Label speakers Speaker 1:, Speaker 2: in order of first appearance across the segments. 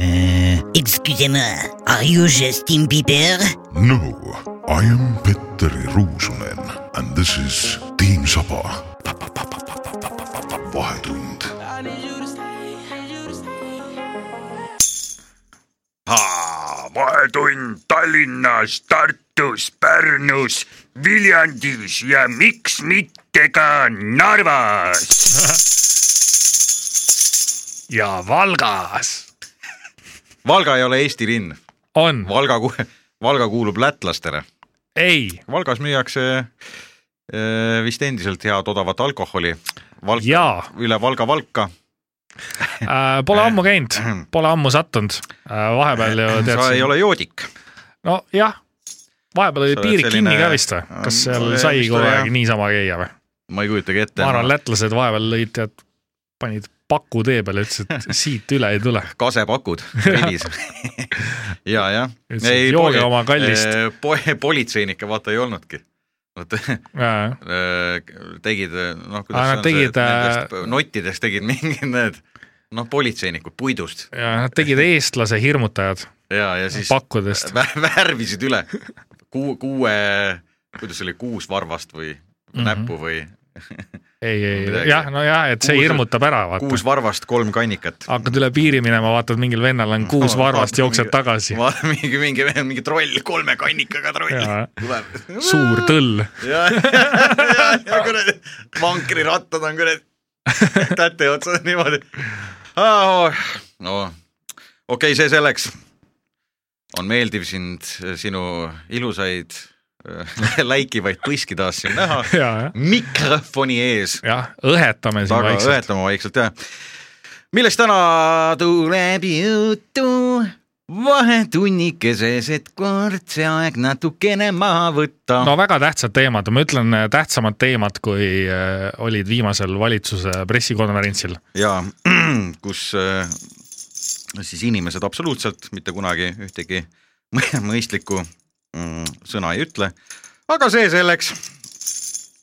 Speaker 1: Euh, excusez-moi, are you Justin Bieber?
Speaker 2: No, I am Petteri Ruusunen and this is Team Saba . vahetund .
Speaker 3: vahetund Tallinnas , Tartus , Pärnus , Viljandis ja miks mitte ka Narvas . ja Valgas .
Speaker 4: Valga ei ole Eesti linn ,
Speaker 5: on ,
Speaker 4: Valga , Valga kuulub lätlastele .
Speaker 5: ei ,
Speaker 4: Valgas müüakse äh, vist endiselt head odavat alkoholi . Valk,
Speaker 5: jaa
Speaker 4: üle Valga Valka .
Speaker 5: äh, , pole ammu käinud , pole ammu sattunud äh, , vahepeal ju tead
Speaker 4: sa ei ole joodik .
Speaker 5: nojah , vahepeal
Speaker 4: Sa
Speaker 5: olid
Speaker 4: oled
Speaker 5: piirid
Speaker 4: selline-
Speaker 5: kinni ka vist või , kas seal
Speaker 4: Mm,
Speaker 5: sai
Speaker 4: vist
Speaker 5: kogu
Speaker 4: oli,
Speaker 5: aeg
Speaker 4: jah.
Speaker 5: niisama käia või ?
Speaker 4: ma ei kujutagi ette . noh,
Speaker 5: ma arvan , lätlased vahepeal lõid tead , panid paku tee peale , ütlesid et siit üle ei tule .
Speaker 4: kasepakud rivis ja , jah .
Speaker 5: Ütlesid, "Jooge oma kallist."
Speaker 4: po . politseinikke vaata ei olnudki . Nad äh,
Speaker 5: Aa,
Speaker 4: tegid ,
Speaker 5: Aa,
Speaker 4: noh , kuidas
Speaker 5: nad tegid, äh,
Speaker 4: nendest nottidest tegid mingid need noh , politseinikud puidust
Speaker 5: ja nad tegid eestlase hirmutajad
Speaker 4: ja , ja siis
Speaker 5: pakkudest .
Speaker 4: vä- värvisid üle Ku, kuue , kuidas see oli , kuus varvast või mm
Speaker 5: Mhm.
Speaker 4: -hmm. näppu või
Speaker 5: ei , ei ,
Speaker 4: midagi.
Speaker 5: jah , nojah , et see
Speaker 4: Kuus-
Speaker 5: hirmutab ära , vaata
Speaker 4: kuus . varvast kolm kannikat .
Speaker 5: hakkad üle piiri minema , vaatad , mingil vennal
Speaker 4: Mm.
Speaker 5: on Ah, kuus varvast , jooksed tagasi .
Speaker 4: mingi , mingi , mingi troll , kolme kannikaga troll
Speaker 5: Jaa.
Speaker 4: tuleb .
Speaker 5: suur tõll .
Speaker 4: ja , ja , ja kuradi vankrirattad on kuradi täte otsas niimoodi . no okei okay, , see selleks . on meeldiv sind , sinu ilusaid äh, läikivaid põski taas siin näha
Speaker 5: Jaa, jah.
Speaker 4: mikrofoni ees ,
Speaker 5: jah , õhetame siin
Speaker 4: taga
Speaker 5: vaikselt .
Speaker 4: õhetama vaikselt ja millest täna tuleb juttu ? vahetunnikeses , et kord see aeg natukene maha võtta
Speaker 5: no väga tähtsad teemad , ma ütlen eh, tähtsamad teemad , kui eh, olid viimasel valitsuse pressikonverentsil .
Speaker 4: ja kus äh, siis inimesed absoluutselt mitte kunagi ühtegi mõ- mõistlikku mm, sõna ei ütle . aga see selleks .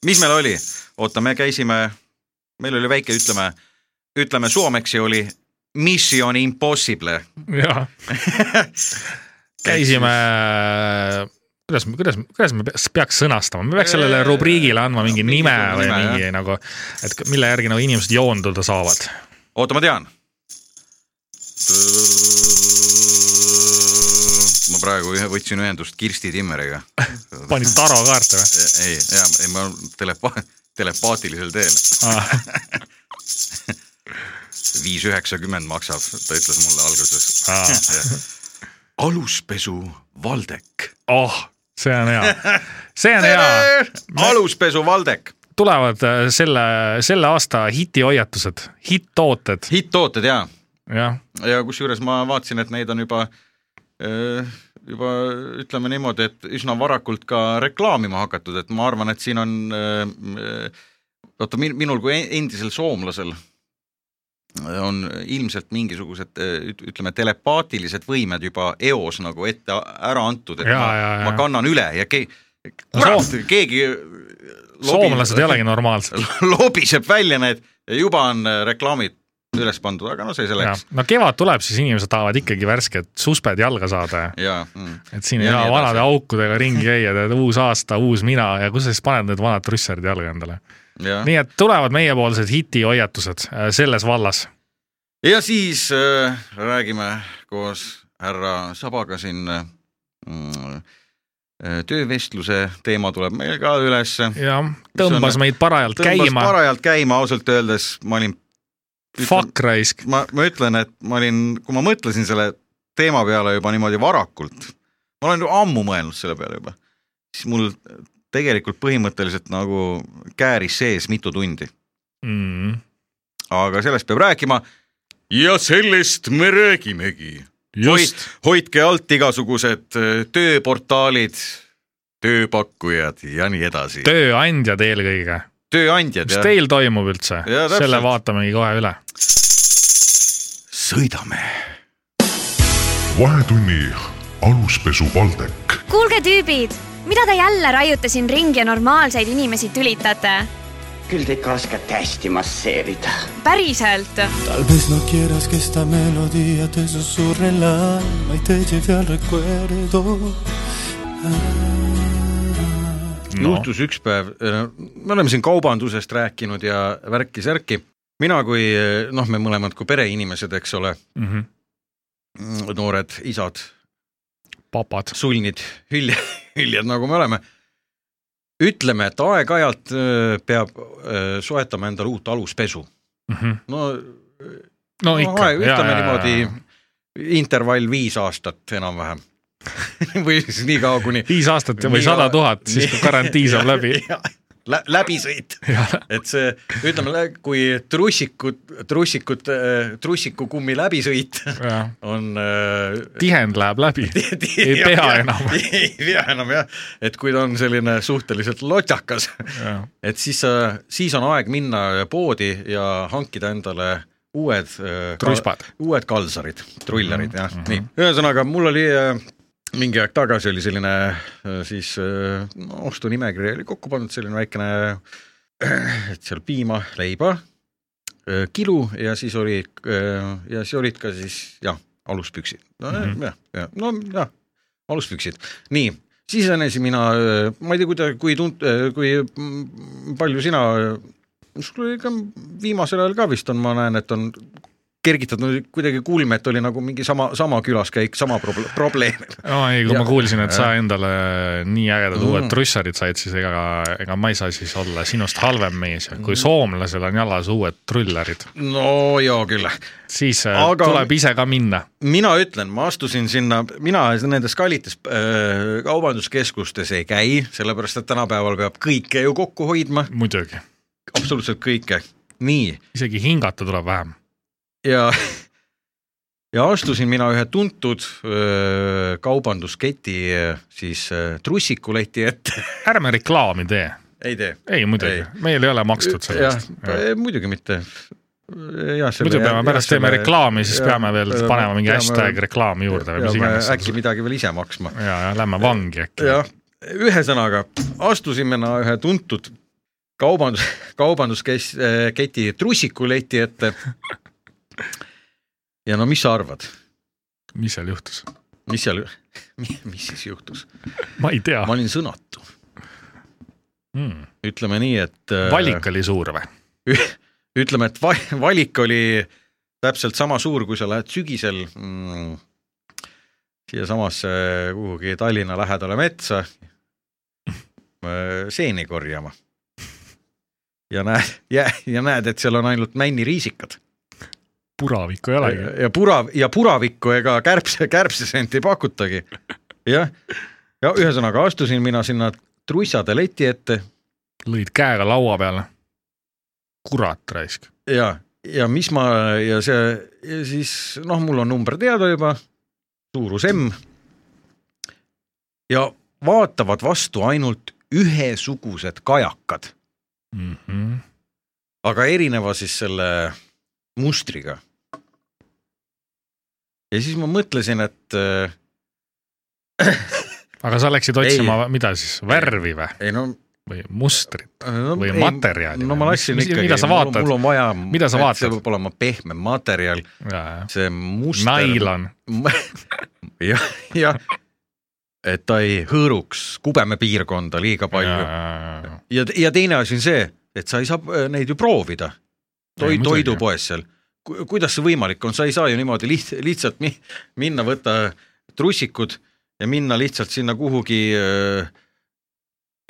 Speaker 4: mis meil oli ? oota , me käisime , meil oli väike , ütleme , ütleme soomeksi oli Mission Impossible .
Speaker 5: jah . käisime , kuidas , kuidas , kuidas me peaks- peaks sõnastama , me peaks sellele rubriigile andma mingi
Speaker 4: Mingi
Speaker 5: nime või
Speaker 4: nime, jah.
Speaker 5: mingi nagu , et k- mille järgi nagu inimesed joonduda saavad .
Speaker 4: oota , ma tean . ma praegu ühe- võtsin ühendust Kirsti Timmeriga .
Speaker 5: panid taro kaarte või ?
Speaker 4: ei , ja ei, ma telepa- , telepaatilisel teel . viis üheksakümmend maksab , ta ütles mulle alguses . aluspesu Valdek .
Speaker 5: oh , see on hea , see on hea .
Speaker 4: aluspesu Valdek ,
Speaker 5: tulevad eh, selle , selle aasta hitihoiatused , hitt-tooted ,
Speaker 4: hitt-tooted ja ,
Speaker 5: jah
Speaker 4: ja kusjuures ma vaatasin , et neid on juba öö, juba ütleme niimoodi , et üsna varakult ka reklaamima hakatud , et ma arvan , et siin on öö, öö, oota , min- , minul kui en- endisel soomlasel on ilmselt mingisugused öö, üt- ütleme , telepaatilised võimed juba eos nagu ette a- ära antud , et
Speaker 5: Jaa, jaa,
Speaker 4: ma,
Speaker 5: jaa.
Speaker 4: ma kannan üle ja ke- ,
Speaker 5: soom-
Speaker 4: keegi
Speaker 5: soomlased ei olegi normaalsed .
Speaker 4: lobiseb välja need ja juba on öö, reklaamid üles pandud , aga no see selleks
Speaker 5: no kevad tuleb , siis inimesed tahavad ikkagi värsked susped jalga saada ja
Speaker 4: ja mm.
Speaker 5: et siin ei
Speaker 4: Ja
Speaker 5: saa
Speaker 4: nii
Speaker 5: vanade
Speaker 4: edasi.
Speaker 5: aukudega ringi käia , tead uus aasta , uus mina ja kus sa siis paned need vanad trussard jalga endale .
Speaker 4: ja.
Speaker 5: nii et tulevad meiepoolsed hitihoiatused äh, selles vallas .
Speaker 4: ja siis äh, räägime koos härra Sabaga siin äh, mm, äh, töövestluse teema tuleb meil ka ülesse .
Speaker 5: jah , tõmbas
Speaker 4: on-
Speaker 5: meid parajalt käima ,
Speaker 4: parajalt käima , ausalt öeldes ma olin ,
Speaker 5: fuck raisk .
Speaker 4: ma , ma ütlen , et ma olin , kui ma mõtlesin selle teema peale juba niimoodi varakult , ma olen ju ammu mõelnud selle peale juba , siis mul tegelikult põhimõtteliselt nagu kääris sees mitu tundi ,
Speaker 5: Mm.
Speaker 4: aga sellest peab rääkima . ja sellest me räägimegi hoid,
Speaker 5: just ,
Speaker 4: hoidke alt igasugused öö, tööportaalid , tööpakkujad ja nii edasi .
Speaker 5: tööandjad eelkõige .
Speaker 4: tööandjad
Speaker 5: mis
Speaker 4: ja
Speaker 5: teil toimub üldse
Speaker 4: Jaa, ? täpselt.
Speaker 5: selle vaatamegi kohe üle .
Speaker 4: sõidame .
Speaker 2: vahetunni aluspesu Valdek .
Speaker 6: kuulge , tüübid , mida te jälle raiute siin ringi ja normaalseid inimesi tülitate ? küll te ikka oskate hästi masseerida .
Speaker 7: päriselt .
Speaker 8: Tal vez no quieras que esta melodía te susurre en la alma y te lleve al recuerdo. Ah.
Speaker 5: No.
Speaker 4: juhtus üks päev , me oleme siin kaubandusest rääkinud ja värki-särki , mina kui eh, noh , me mõlemad kui pereinimesed , eks ole ,
Speaker 5: mm . -hmm.
Speaker 4: noored isad ,
Speaker 5: papad .
Speaker 4: sulnid , hülje , hüljed , nagu me oleme , ütleme , et aeg-ajalt eh, peab eh, soetama endale uut aluspesu .
Speaker 5: Mhm.
Speaker 4: no
Speaker 5: no
Speaker 4: no
Speaker 5: ikka .
Speaker 4: aeg- Noh, ütleme niimoodi intervall viis aastat enam-vähem või siis nii kaua , kuni
Speaker 5: viis aastat või
Speaker 4: Nii-
Speaker 5: sada tuhat , siis kui garantii saab läbi .
Speaker 4: Lä- , läbisõit , et see ütleme , kui trussikud , trussikud , äh, trussikukummi läbisõit on äh,
Speaker 5: tihend läheb läbi . ei
Speaker 4: jah,
Speaker 5: pea
Speaker 4: jah,
Speaker 5: enam.
Speaker 4: ei pea enam jah , et kui ta on selline suhteliselt lotjakas , et siis , siis on aeg minna poodi ja hankida endale uued äh,
Speaker 5: Truspad.
Speaker 4: uued kalsarid , trullerid jah mm , -hmm. nii . ühesõnaga , mul oli äh, mingi aeg tagasi oli selline äh, siis äh, no, ostunimekiri oli kokku pandud , selline väikene äh, , et seal piima , leiba äh, , kilu ja siis oli äh, ja siis olid ka siis jah , aluspüksid . no mm -hmm. jah , jah , no jah , aluspüksid , nii sisenesin mina , ma ei tea , kuida- , kui tunt- , kui mm, palju sina , sul oli ka viimasel ajal ka vist on , ma näen , et on kergitatud kuidagi kulme , et oli nagu mingi sama , sama külaskäik , sama proble- , probleem .
Speaker 5: ei , kui
Speaker 4: Ja-
Speaker 5: ma kuulsin , et sa endale nii ägedad
Speaker 4: Mm.
Speaker 5: uued trussarid said , siis ega , ega ma ei saa siis olla sinust halvem mees , kui soomlasel on jalas uued trullerid ,
Speaker 4: no hea küll ,
Speaker 5: siis Aga...
Speaker 4: Aga-
Speaker 5: tuleb ise ka minna .
Speaker 4: mina ütlen , ma astusin sinna , mina nendes kallites äh, kaubanduskeskustes ei käi , sellepärast et tänapäeval peab kõike ju kokku hoidma ,
Speaker 5: muidugi ,
Speaker 4: absoluutselt kõike , nii
Speaker 5: isegi hingata tuleb vähem .
Speaker 4: ja , ja astusin mina ühe tuntud öö, kaubandusketi öö, siis öö, trussikuleti ette .
Speaker 5: ärme reklaami tee ,
Speaker 4: ei tee .
Speaker 5: ei muidugi
Speaker 4: Ei. ,
Speaker 5: meil ei ole makstud selle eest .
Speaker 4: muidugi mitte .
Speaker 5: muidu peame pärast teeme reklaami , siis peame veel panema mingi hashtag reklaami juurde või mis iganes .
Speaker 4: äkki midagi veel ise maksma .
Speaker 5: ja , ja lähme vangi äkki .
Speaker 4: jah , ühesõnaga astusime na- ühe tuntud kaubandus , kaubandusketi trussikuleti ette . ja no mis sa arvad ,
Speaker 5: mis seal juhtus ?
Speaker 4: mis seal , mis siis juhtus ?
Speaker 5: ma ei tea
Speaker 4: ma . olin sõnatu ,
Speaker 5: Mm.
Speaker 4: ütleme nii , et . äh,
Speaker 5: valik oli suur või ?
Speaker 4: ütleme , et va- valik oli täpselt sama suur , kui sa lähed sügisel mm, siiasamasse kuhugi Tallinna lähedale metsa öö, seeni korjama . ja näed , ja näed , et seal on ainult männiriisikad
Speaker 5: puravikku ei olegi .
Speaker 4: ja pura ja puravikku ega kärbse , kärbsesent ei pakutagi . jah , ja ühesõnaga astusin mina sinna trussade leti ette
Speaker 5: lõid käega laua peale . kurat raisk .
Speaker 4: ja , ja mis ma ja see ja siis noh , mul on number teada juba , suurus M . ja vaatavad vastu ainult ühesugused kajakad ,
Speaker 5: Mhm.
Speaker 4: aga erineva siis selle mustriga . ja siis ma mõtlesin , et äh,
Speaker 5: aga sa läksid otsima , mida siis , värvi või ,
Speaker 4: ei no,
Speaker 5: või mustrit ?
Speaker 4: no .
Speaker 5: Või materjali
Speaker 4: no ma
Speaker 5: või?
Speaker 4: läksin
Speaker 5: Mis- mis-
Speaker 4: ikkagi ,
Speaker 5: mida sa vaatad?
Speaker 4: mul on vaja ,
Speaker 5: Mida sa vaatad?
Speaker 4: see peab olema pehme materjal , see muster .
Speaker 5: nailon ,
Speaker 4: jah , jah , et ta ei hõõruks kubeme piirkonda liiga palju ja , ja, ja teine asi on see , et sa ei saa äh, neid ju proovida
Speaker 5: Ei,
Speaker 4: Toi, .
Speaker 5: muidugi.
Speaker 4: toidupoes seal , kuidas see võimalik on , sa ei saa ju niimoodi liht, lihtsalt mi, minna , võtta trussikud ja minna lihtsalt sinna kuhugi äh,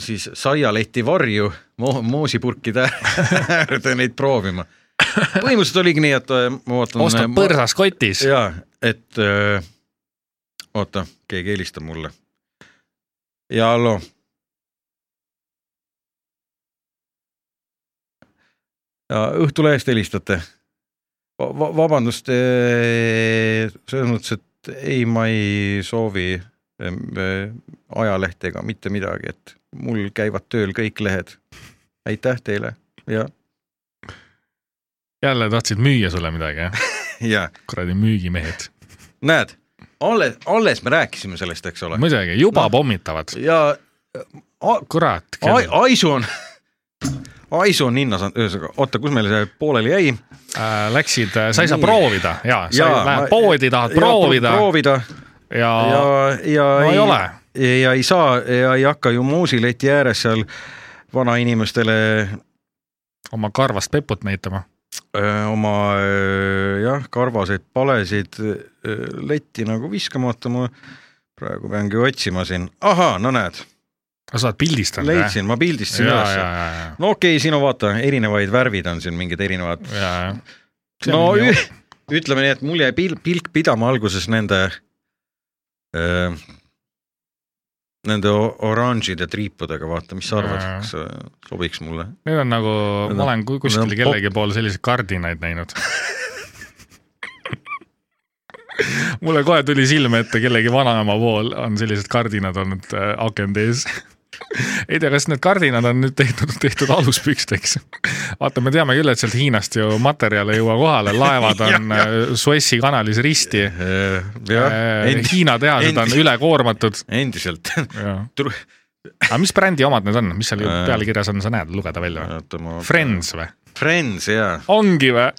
Speaker 4: siis saialeti varju mo, moosipurkide äärde neid proovima . põhimõtteliselt oligi nii , et äh, ma vaatan .
Speaker 5: ostad põrsas kotis .
Speaker 4: jaa , et öö, oota , keegi helistab mulle . ja hallo . Õhtulehest helistate va ? Va vabandust , selles mõttes , et ei , ma ei soovi em, eh, ajalehte ega mitte midagi , et mul käivad tööl kõik lehed . aitäh teile ja ,
Speaker 5: jälle tahtsid müüa sulle midagi , jah ?
Speaker 4: ja
Speaker 5: kuradi müügimehed .
Speaker 4: näed , alles , alles me rääkisime sellest , eks ole .
Speaker 5: muidugi , juba
Speaker 4: No.
Speaker 5: pommitavad .
Speaker 4: ja
Speaker 5: kurat .
Speaker 4: Ai, Aisu on , Aisu on ninnas , ühesõnaga , oota , kus meil see pooleli jäi ?
Speaker 5: äh, läksid , sa ei saa
Speaker 4: Nii.
Speaker 5: proovida ja sa ja, lähed poodi , tahad proovida
Speaker 4: proovida
Speaker 5: ja, ja
Speaker 4: ja , ja
Speaker 5: no ei ole.
Speaker 4: ja ei saa ja ei hakka ju muusileti ääres seal vanainimestele
Speaker 5: oma karvast peput näitama .
Speaker 4: öö, oma öö, jah , karvaseid palesid öö, letti nagu viskama , oota ma praegu peangi otsima siin , ahaa , no näed ,
Speaker 5: sa oled pildistanud ?
Speaker 4: leidsin , ma pildistasin
Speaker 5: ja ,
Speaker 4: üles
Speaker 5: ja , ja , ja ,
Speaker 4: no okei okay, , siin on vaata , erinevaid värvid on siin mingid erinevad ,
Speaker 5: ja , ja .
Speaker 4: no ü- ütleme nii , et mul jäi pil- , pilk pidama alguses nende öö, Nende o- oranžide triipudega , vaata , mis sa arvad ,
Speaker 5: Jaa.
Speaker 4: kas see sobiks mulle ?
Speaker 5: Need on nagu ,
Speaker 4: Need
Speaker 5: ma
Speaker 4: on-
Speaker 5: olen ku- kuskil
Speaker 4: need on
Speaker 5: kellegi pool selliseid kardinaid näinud . mulle kohe tuli silme ette , kellegi vanaema pool on sellised kardinad olnud äh, akende ees . ei tea , kas need kardinad on nüüd tehtud , tehtud aluspüksteks . vaata , me teame küll , et sealt Hiinast ju materjal ei jõua kohale , laevad on äh, Suessi kanalis risti .
Speaker 4: Äh, jah ,
Speaker 5: Äh,
Speaker 4: endi- ,
Speaker 5: Hiina tehased on
Speaker 4: endi-
Speaker 5: ülekoormatud .
Speaker 4: endiselt .
Speaker 5: aga
Speaker 4: Tru-
Speaker 5: mis brändi omad need on , mis seal
Speaker 4: Äh.
Speaker 5: pealkirjas on , sa näed , lugeda välja või ?
Speaker 4: oota ma .
Speaker 5: Friends või ?
Speaker 4: Friends , jaa .
Speaker 5: ongi või ?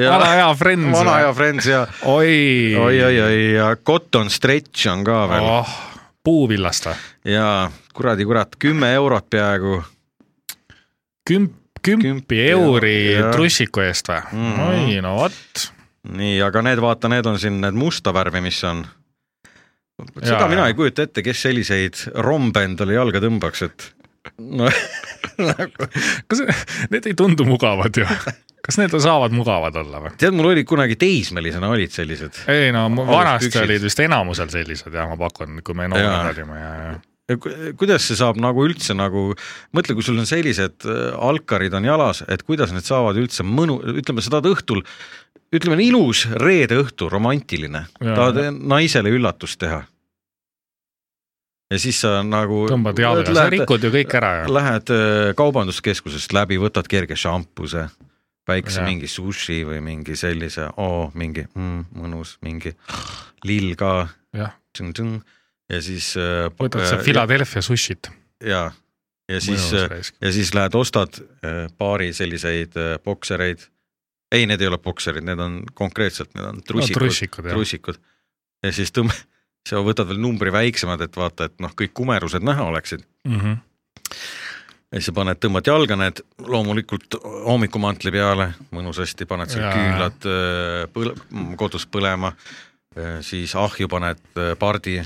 Speaker 5: vana hea Friends
Speaker 4: vana hea
Speaker 5: või ?
Speaker 4: Friends ja
Speaker 5: oi ,
Speaker 4: oi-oi-oi ja Cotton Stretch on ka veel oh.
Speaker 5: oh, . puuvillast või ?
Speaker 4: ja kuradi kurat , kümme eurot peaaegu
Speaker 5: kümp ,
Speaker 4: Kümpi
Speaker 5: kümpi euri
Speaker 4: ja-
Speaker 5: trussiku eest või
Speaker 4: Mhm.
Speaker 5: mm. ? oi , no vot .
Speaker 4: nii , aga need , vaata , need on siin need musta värvi , mis on . seda
Speaker 5: Jaa,
Speaker 4: ja, mina
Speaker 5: jaa.
Speaker 4: ei kujuta ette , kes selliseid rombe endale jalga tõmbaks , et no nagu,
Speaker 5: kas need ei tundu mugavad ju ? kas need saavad mugavad olla või ?
Speaker 4: tead , mul olid kunagi teismelisena olid sellised ,
Speaker 5: ei no mu-
Speaker 4: Aluspüksid.
Speaker 5: vanasti olid vist enamusel sellised ja ma pakun , kui me
Speaker 4: Jaa.
Speaker 5: noored olime ja , ja .
Speaker 4: kuidas see saab nagu üldse nagu , mõtle , kui sul on sellised äh, alkarid on jalas , et kuidas need saavad üldse mõnu , ütleme , sa tahad õhtul , ütleme on ilus reede õhtu , romantiline ,
Speaker 5: Jaa.
Speaker 4: tahad naisele üllatust teha . ja siis sa nagu
Speaker 5: tõmbad jalga , sa
Speaker 4: lähed-
Speaker 5: rikud ju kõik ära ju .
Speaker 4: Lähed öö, kaubanduskeskusest läbi , võtad kerge šampuse , väikse
Speaker 5: Jaa.
Speaker 4: ja. mingi sushi või mingi sellise , oo , mingi mm, mõnus , mingi lill ka .
Speaker 5: Jah.
Speaker 4: ja siis .
Speaker 5: võtad sa . Philadelphia sushit .
Speaker 4: ja , ja siis , äh, ja siis lähed ostad öö, paari selliseid öö, boksereid . ei , need ei ole bokserid , need on konkreetselt , need on trussikud no, ,
Speaker 5: trussikud jah .
Speaker 4: trussikud . ja siis tõmb- , sa võtad veel numbri väiksemad , et vaata , et noh , kõik kumerused näha oleksid .
Speaker 5: Mhm,
Speaker 4: ja siis sa paned , tõmbad jalga need loomulikult hommikumantli peale mõnusasti , paned seal
Speaker 5: Jaa.
Speaker 4: küünlad öö, põl- , kodus põlema , siis ahju paned öö, pardi ,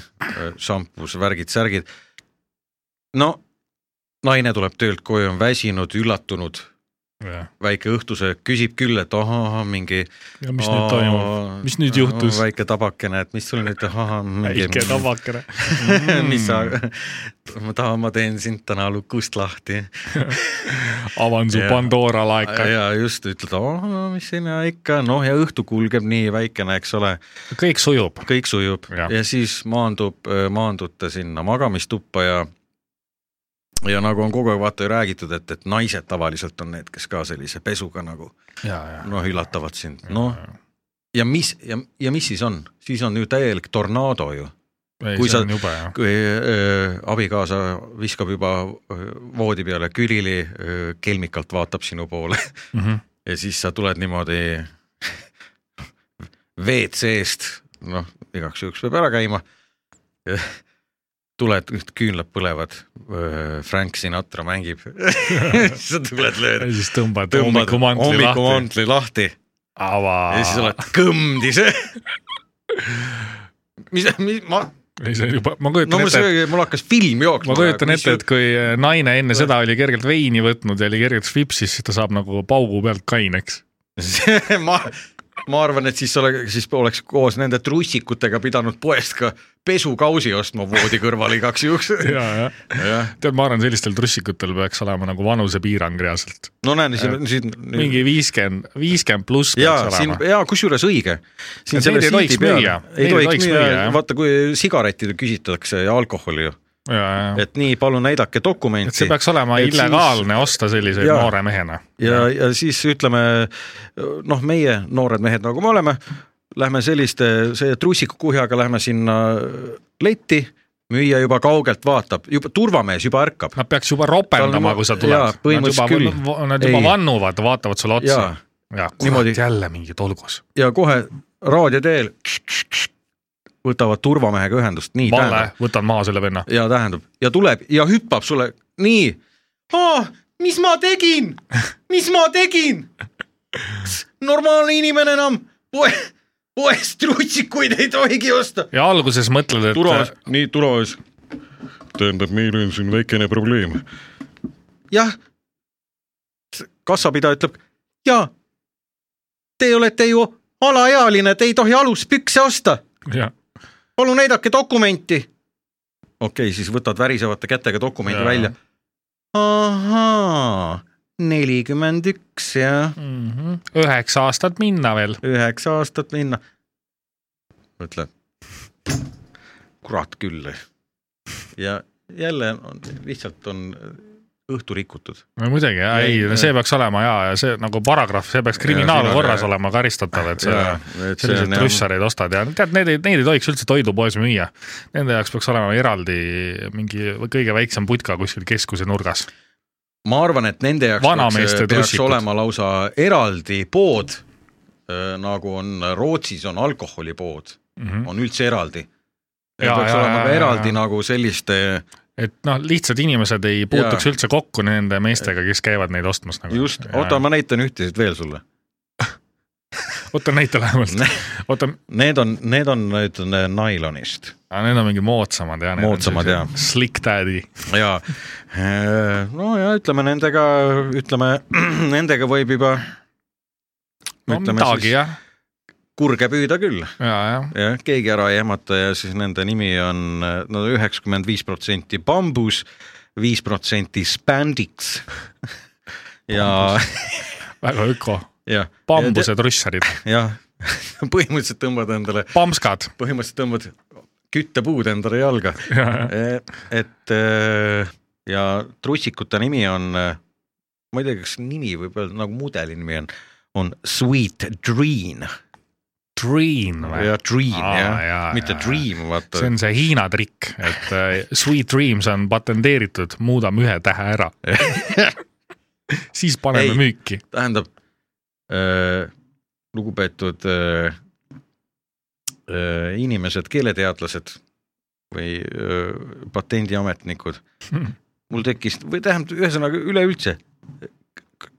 Speaker 4: šampus , värgid , särgid . no naine tuleb töölt koju , on väsinud , üllatunud , väike õhtusöök , küsib küll , et ahah , mingi .
Speaker 5: ja mis nüüd toimub ? Mis nüüd juhtus?
Speaker 4: väike tabakene , et mis sul nüüd , ahah .
Speaker 5: väike tabakene .
Speaker 4: mis sa , ma tahan , ma teen sind täna lukust lahti
Speaker 5: avan su
Speaker 4: Jaa.
Speaker 5: Pandora laeka .
Speaker 4: ja just ütled , mis sinna ikka , noh ja õhtu kulgeb nii väikene , eks ole ,
Speaker 5: kõik sujub .
Speaker 4: kõik sujub ja,
Speaker 5: Jah.
Speaker 4: ja siis maandub , maandute sinna magamistuppa ja ja nagu on kogu aeg vaata ju räägitud , et , et naised tavaliselt on need , kes ka sellise pesuga nagu
Speaker 5: ja , ja .
Speaker 4: noh , üllatavad sind , noh . ja mis ja , ja mis siis on , siis on ju täielik tornaado ju ,
Speaker 5: kui
Speaker 4: kui
Speaker 5: sa
Speaker 4: sa- .
Speaker 5: jube jah .
Speaker 4: kui öö, abikaasa viskab juba öö, voodi peale külili , kelmikalt vaatab sinu poole ja siis sa tuled niimoodi WC-st , noh , igaks juhuks peab ära käima . tuled , küünlad põlevad , Frank Sinatra mängib . sa tuled ,
Speaker 5: ja
Speaker 4: lööd ,
Speaker 5: siis tõmbad
Speaker 4: tõmbad
Speaker 5: hommikumantli lahti .
Speaker 4: hommikumantli lahti
Speaker 5: ava .
Speaker 4: ja siis oled kõmdis . mis , mis , ma ,
Speaker 5: ei , see on juba , ma
Speaker 4: no
Speaker 5: kujutan
Speaker 4: mul
Speaker 5: ette ,
Speaker 4: see , mul hakkas film jooksma .
Speaker 5: ma kujutan ette , et kui äh, naine enne seda oli kergelt veini võtnud ja oli kergelt švipsis , siis ta saab nagu paugu pealt kaineks .
Speaker 4: see , ma , ma arvan , et siis ole , siis oleks koos nende trussikutega pidanud poest ka pesukausi ostma voodi kõrvale igaks juhuks .
Speaker 5: ja , ja . tead , ma arvan , sellistel trussikutel peaks olema nagu vanusepiirang reaalselt .
Speaker 4: no näe , siin , siin
Speaker 5: mingi viiskümmend , viiskümmend pluss
Speaker 4: jaa ,
Speaker 5: peaks
Speaker 4: siin
Speaker 5: olema .
Speaker 4: jaa , kusjuures õige . siin
Speaker 5: Et neid ei tohiks müüa.
Speaker 4: ei
Speaker 5: Neid ei
Speaker 4: tohiks
Speaker 5: tohiks
Speaker 4: müüa
Speaker 5: müüa, , jah.
Speaker 4: vaata kui sigaretid küsitakse ja alkoholi ju ,
Speaker 5: ja , ja ,
Speaker 4: et nii , palun näidake dokumenti .
Speaker 5: et see peaks olema
Speaker 4: et siis-
Speaker 5: illegaalne osta selliseid
Speaker 4: Jaa.
Speaker 5: noore mehena .
Speaker 4: ja , ja siis ütleme noh , meie noored mehed , nagu me oleme , lähme selliste , see trussikukuhjaga lähme sinna äh, letti , müüja juba kaugelt vaatab , juba turvamees juba ärkab .
Speaker 5: Nad peaks juba ropendama
Speaker 4: Tal , on-
Speaker 5: kui sa
Speaker 4: jaa,
Speaker 5: tuled .
Speaker 4: põhimõtteliselt küll.
Speaker 5: Nad juba
Speaker 4: Ei.
Speaker 5: vannuvad , vaatavad sulle otsa .
Speaker 4: Jaa.
Speaker 5: ja
Speaker 4: Niimoodi-
Speaker 5: kurat , jälle mingi tolgus .
Speaker 4: ja kohe raadio teel võtavad turvamehega ühendust , nii
Speaker 5: vale
Speaker 4: tähendab ,.
Speaker 5: võtan maha selle venna .
Speaker 4: ja tähendab ja tuleb ja hüppab sulle nii . mis ma tegin , mis ma tegin ? normaalne inimene enam poe , poest rutsikuid ei tohigi osta .
Speaker 5: ja alguses mõtled , et
Speaker 7: turvamees , nii turvamees . tähendab , meil on siin väikene probleem .
Speaker 4: jah . kassapidaja ütleb ja te olete ju alaealine , te ei tohi aluspükse osta
Speaker 5: jah ,
Speaker 4: palun näidake dokumenti . okei , siis võtad värisevate kätega dokumendi
Speaker 5: Jaa.
Speaker 4: välja . ahaa , nelikümmend üks ja
Speaker 5: mhm, üheksa aastat minna veel .
Speaker 4: üheksa aastat minna . mõtle , kurat küll . ja jälle on, lihtsalt on õhtu rikutud .
Speaker 5: no muidugi , ei
Speaker 4: Ei, ,
Speaker 5: see peaks olema ja , ja see nagu paragrahv , see peaks kriminaalkorras olema karistatav , et sa
Speaker 4: Jaa, et see
Speaker 5: selliseid
Speaker 4: on jah.
Speaker 5: trussareid ostad ja tead , need ei , neid ei tohiks üldse toidupoes müüa . Nende jaoks peaks olema eraldi mingi kõige väiksem putka kuskil keskuse nurgas .
Speaker 4: ma arvan , et nende jaoks
Speaker 5: Vanameeste
Speaker 4: peaks, peaks
Speaker 5: trussikud.
Speaker 4: olema lausa eraldi pood , nagu on Rootsis on alkoholipood mm ,
Speaker 5: Mhm.
Speaker 4: -hmm. on üldse eraldi .
Speaker 5: Jaa,
Speaker 4: peaks
Speaker 5: jaa,
Speaker 4: olema
Speaker 5: jaa,
Speaker 4: ka
Speaker 5: jaa,
Speaker 4: eraldi
Speaker 5: jaa.
Speaker 4: nagu selliste ,
Speaker 5: et noh , lihtsad inimesed ei puutuks
Speaker 4: Jaa.
Speaker 5: üldse kokku nende meestega , kes käivad neid ostmas nagu .
Speaker 4: just , oota , ma näitan ühtesid veel sulle .
Speaker 5: oota näita lähemalt . oota ,
Speaker 4: Need on , need on nüüd nailonist
Speaker 5: need on mingi moodsamad ja .
Speaker 4: Moodsamad, jaa.
Speaker 5: Slick Daddy .
Speaker 4: ja Äh, no ja ütleme nendega , ütleme nendega võib juba
Speaker 5: no
Speaker 4: Ütleme siis-
Speaker 5: midagi jah ,
Speaker 4: kurge püüda küll ,
Speaker 5: ja , jah .
Speaker 4: jah , keegi ära ei ehmata ja siis nende nimi on no üheksakümmend viis protsenti bambus , viis protsenti spandiks ja ,
Speaker 5: väga öko .
Speaker 4: ja .
Speaker 5: bambuse . trussarid ,
Speaker 4: jah , põhimõtteliselt tõmbad endale ,
Speaker 5: pamskad .
Speaker 4: põhimõtteliselt tõmbad küttepuud endale jalga . et eh, ja trussikute nimi on , ma ei tea , kas nimi võib öelda , nagu mudeli nimi on , on Sweet Dream
Speaker 5: Dream või ?
Speaker 4: ja Dream
Speaker 5: Aa,
Speaker 4: jah
Speaker 5: jaa, ,
Speaker 4: mitte
Speaker 5: jaa.
Speaker 4: Dream , vaata
Speaker 5: see on see Hiina trikk , et äh, Sweet Dreams on patenteeritud , muudame ühe tähe ära . siis paneme
Speaker 4: Ei.
Speaker 5: ei. müüki .
Speaker 4: tähendab äh, , lugupeetud äh, äh, inimesed , keeleteadlased või äh, patendiametnikud , mul tekkis või tähendab , ühesõnaga üleüldse ,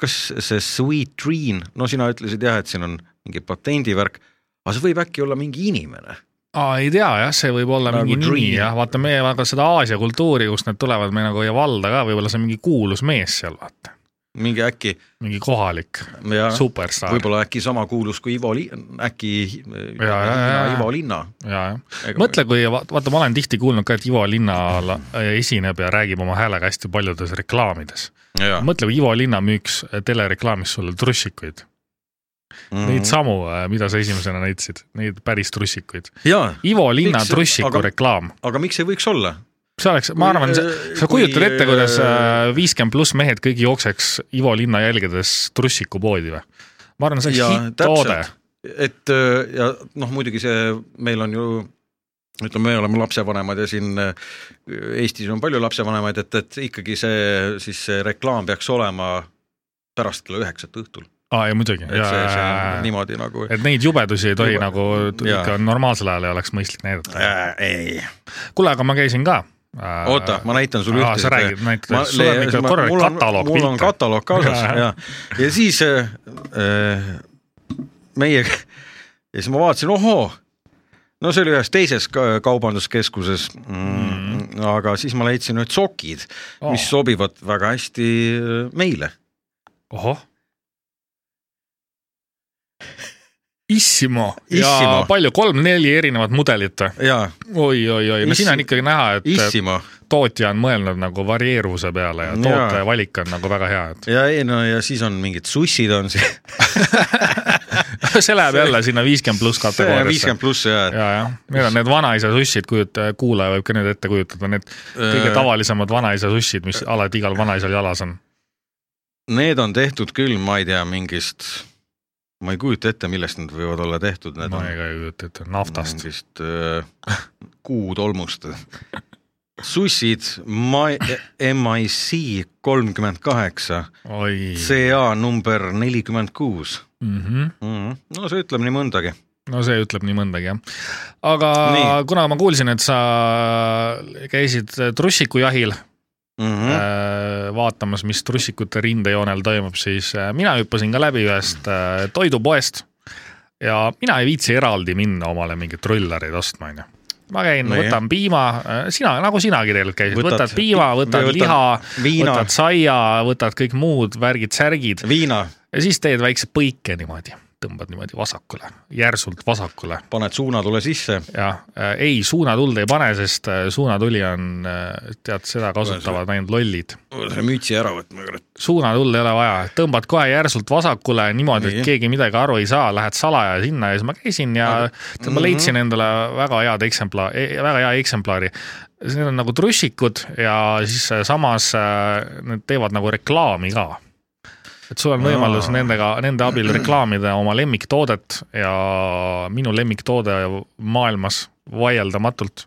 Speaker 4: kas see Sweet Dream , no sina ütlesid jah , et siin on mingi patendivärk , aga see võib äkki olla mingi inimene ,
Speaker 5: aa , ei tea jah , see võib olla
Speaker 4: Nagu
Speaker 5: nagu mingi nimi
Speaker 4: Dream.
Speaker 5: jah , vaata meie väga seda Aasia kultuuri , kust need tulevad , me nagu ei valda ka , võib-olla see on mingi kuulus mees seal vaata ,
Speaker 4: mingi äkki
Speaker 5: mingi kohalik
Speaker 4: ja
Speaker 5: superstaar .
Speaker 4: võib-olla äkki sama kuulus kui Ivo Li- , äkki äh,
Speaker 5: Jaa, jaa, jaa, jaa.
Speaker 4: Ivo Linna .
Speaker 5: ja , jah . mõtle , kui va- vaata , ma olen tihti kuulnud ka , et Ivo Linnal esineb ja räägib oma häälega hästi paljudes reklaamides . mõtle , kui Ivo Linna müüks telereklaamis sulle trussikuid , neid
Speaker 4: Mhm.
Speaker 5: samu , mida sa esimesena näitasid , neid päris trussikuid .
Speaker 4: Mm-hmm. jaa ,
Speaker 5: Ivo Linna
Speaker 4: Miks?
Speaker 5: trussiku aga...
Speaker 4: Aga-
Speaker 5: reklaam ,
Speaker 4: aga miks ei võiks olla ?
Speaker 5: see oleks , ma
Speaker 4: Kui,
Speaker 5: arvan ,
Speaker 4: äh,
Speaker 5: sa
Speaker 4: kui,
Speaker 5: kujutad ette , kuidas
Speaker 4: äh,
Speaker 5: viiskümmend pluss mehed kõik jookseks Ivo Linna jälgedes trussikupoodi või ? ma arvan , see oleks hitt-toode .
Speaker 4: et öö, ja noh , muidugi see , meil on ju ütleme , me oleme lapsevanemad ja siin öö, Eestis on palju lapsevanemaid , et , et ikkagi see siis see reklaam peaks olema pärast kella üheksat õhtul ,
Speaker 5: aa , ei muidugi ,
Speaker 4: et see, see on
Speaker 5: jaa ,
Speaker 4: niimoodi nagu
Speaker 5: et neid jubedusi ei tohi
Speaker 4: Jube-
Speaker 5: Juba. nagu t-
Speaker 4: jaa.
Speaker 5: ikka normaalsel ajal ei oleks mõistlik näidata .
Speaker 4: äh, ei ,
Speaker 5: kuule , aga ma käisin ka . Äh,
Speaker 4: oota , ma näitan sulle
Speaker 5: aa,
Speaker 4: ühte .
Speaker 5: sa räägid, näitad. Sul on ikka korralik kataloog
Speaker 4: mul on
Speaker 5: pilte.
Speaker 4: kataloog kaasas
Speaker 5: Jaa.
Speaker 4: ja , ja siis äh, äh, meie ja siis ma vaatasin , ohoo , no see oli ühes teises ka- kaubanduskeskuses mm, ,
Speaker 5: Mhm.
Speaker 4: aga siis ma leidsin need sokid ,
Speaker 5: Oo.
Speaker 4: mis sobivad väga hästi äh, meile .
Speaker 5: ohoh . Issimo ja
Speaker 4: Issimo.
Speaker 5: palju , kolm-neli erinevat mudelit või ?
Speaker 4: jaa ,
Speaker 5: oi , oi , oi , no
Speaker 4: Issi-
Speaker 5: siin on ikkagi näha , et
Speaker 4: Issimo
Speaker 5: tootja on mõelnud nagu varieeruvuse peale ja
Speaker 4: Jaa.
Speaker 5: toote valik on nagu väga hea ,
Speaker 4: ja ei no ja siis on mingid sussid on siin ,
Speaker 5: et see läheb jälle sinna viiskümmend pluss kategooriasse
Speaker 4: viiskümmend . pluss ja, ja.
Speaker 5: ja , jah , need on need vanaisa sussid , kujuta , kuulaja võib ka nüüd ette kujutada , need kõige
Speaker 4: Äh.
Speaker 5: tavalisemad vanaisa sussid , mis alati igal vanaisal jalas on .
Speaker 4: need on tehtud küll , ma ei tea , mingist , ma ei kujuta ette , millest need võivad olla tehtud , need
Speaker 5: ma
Speaker 4: on
Speaker 5: ei ka ei kujuta ette , naftast .
Speaker 4: mingist äh, kuutolmust sussid MIC kolmkümmend kaheksa ,
Speaker 5: oi ,
Speaker 4: CA number nelikümmend kuus .
Speaker 5: mhmh
Speaker 4: no see ütleb nii mõndagi .
Speaker 5: no see ütleb nii mõndagi jah . aga Nii.
Speaker 4: Nii.
Speaker 5: kuna ma kuulsin , et sa käisid trussikujahil
Speaker 4: Mm
Speaker 5: mm.
Speaker 4: -hmm.
Speaker 5: äh, vaatamas , mis trussikute rindejoonel toimub , siis äh, mina hüppasin ka läbi ühest äh, toidupoest ja mina ei viitsi eraldi minna omale mingeid rullareid ostma , onju . ma käin no, ,
Speaker 4: Nojah.
Speaker 5: võtan piima , sina , nagu sinagi tegelikult käisid ,
Speaker 4: Võtad
Speaker 5: võtad piima ,
Speaker 4: pi-
Speaker 5: võtad
Speaker 4: või võtad
Speaker 5: liha ,
Speaker 4: viina.
Speaker 5: võtad saia , võtad kõik muud värgid-särgid
Speaker 4: viina
Speaker 5: ja siis teed väikse põike niimoodi , tõmbad niimoodi vasakule , järsult vasakule
Speaker 4: paned suunatule sisse ,
Speaker 5: jah , ei suunatuld ei pane , sest äh, suunatuli on , tead , seda kasutavad ainult lollid .
Speaker 4: mütsi ära võtma , kurat .
Speaker 5: suunatuld ei ole vaja , tõmbad kohe järsult vasakule niimoodi ,
Speaker 4: Nii.
Speaker 5: et keegi midagi aru ei saa , lähed salaja sinna ja siis ma käisin ja tead, ma leidsin endale väga head eksempla- , väga hea eksemplari . Need on nagu trussikud ja siis äh, samas äh, need teevad nagu reklaami ka et sul on võimalus nendega , nende abil reklaamida oma lemmiktoodet ja minu lemmiktoode maailmas vaieldamatult ,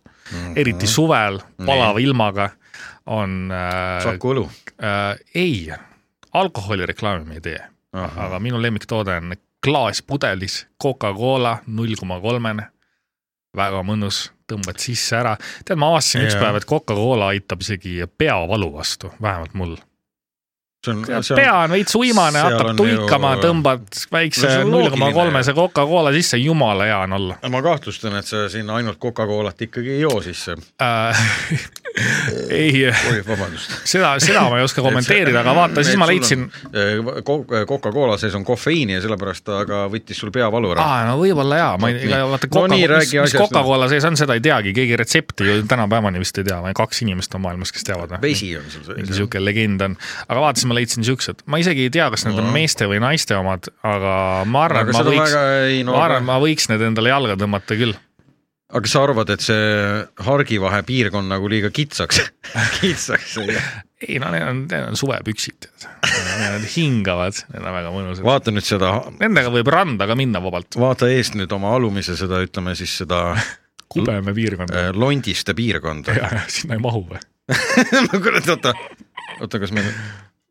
Speaker 5: eriti suvel palava ilmaga on äh,
Speaker 4: Saku õlu .
Speaker 5: äh, . ei , alkoholireklaami me ei tee , aga minu lemmiktoode on klaaspudelis Coca-Cola null koma kolmene . väga mõnus , tõmbad sisse ära . tead , ma avastasin üks
Speaker 4: Jaa.
Speaker 5: päev , et Coca-Cola aitab isegi peavalu vastu , vähemalt mul .
Speaker 4: see on , see
Speaker 5: pea
Speaker 4: on ,
Speaker 5: on veits uimane ,
Speaker 4: seal
Speaker 5: hakkab
Speaker 4: on
Speaker 5: tuikama
Speaker 4: ju- ,
Speaker 5: tõmbad väikse
Speaker 4: see on
Speaker 5: null koma
Speaker 4: loogiline.
Speaker 5: kolmese Coca-Cola sisse , jumala hea on olla .
Speaker 4: ma kahtlustan , et sa sinna ainult Coca-Colat ikkagi ei joo sisse .
Speaker 5: Äh, ei ,
Speaker 4: oi , vabandust .
Speaker 5: seda , seda ma ei oska kommenteerida , aga vaata , siis ma leidsin ,.
Speaker 4: eh, Coca-Cola sees on kofeiini ja sellepärast ta ka võttis sul peavalu ära .
Speaker 5: aa , no võib-olla jaa , ma ei ,
Speaker 4: Nii.
Speaker 5: ega vaata
Speaker 4: No
Speaker 5: Coca- ,
Speaker 4: nii,
Speaker 5: mis,
Speaker 4: räägi
Speaker 5: mis
Speaker 4: asjast
Speaker 5: Coca-Cola sees on , seda ei teagi , keegi retsepti ju tänapäevani vist ei tea , kaks inimest on maailmas , kes teavad .
Speaker 4: vesi on sul
Speaker 5: mingi
Speaker 4: sees .
Speaker 5: sihuke legend on , aga vaatasin , ma leidsin siuksed , ma isegi ei tea , kas need on meeste või naiste omad , aga ma arvan ,
Speaker 4: Aga
Speaker 5: et ma
Speaker 4: seda
Speaker 5: võiks ,
Speaker 4: väga ei- no
Speaker 5: ma arvan ,
Speaker 4: aga-
Speaker 5: ma võiks need endale jalga tõmmata küll .
Speaker 4: aga kas sa arvad , et see Hargivahe piirkond nagu liiga kitsaks , kitsaks ei jää ?
Speaker 5: ei no need on , need on suvepüksid , need hingavad , need on väga mõnusad .
Speaker 4: vaata nüüd seda ,
Speaker 5: Nendega võib randa ka minna vabalt ,
Speaker 4: vaata eest nüüd oma alumise seda , ütleme siis seda
Speaker 5: kubeme piirkond ,
Speaker 4: äh, londiste piirkonda .
Speaker 5: sinna ei mahu või ?
Speaker 4: kurat , oota , oota , kas meil ,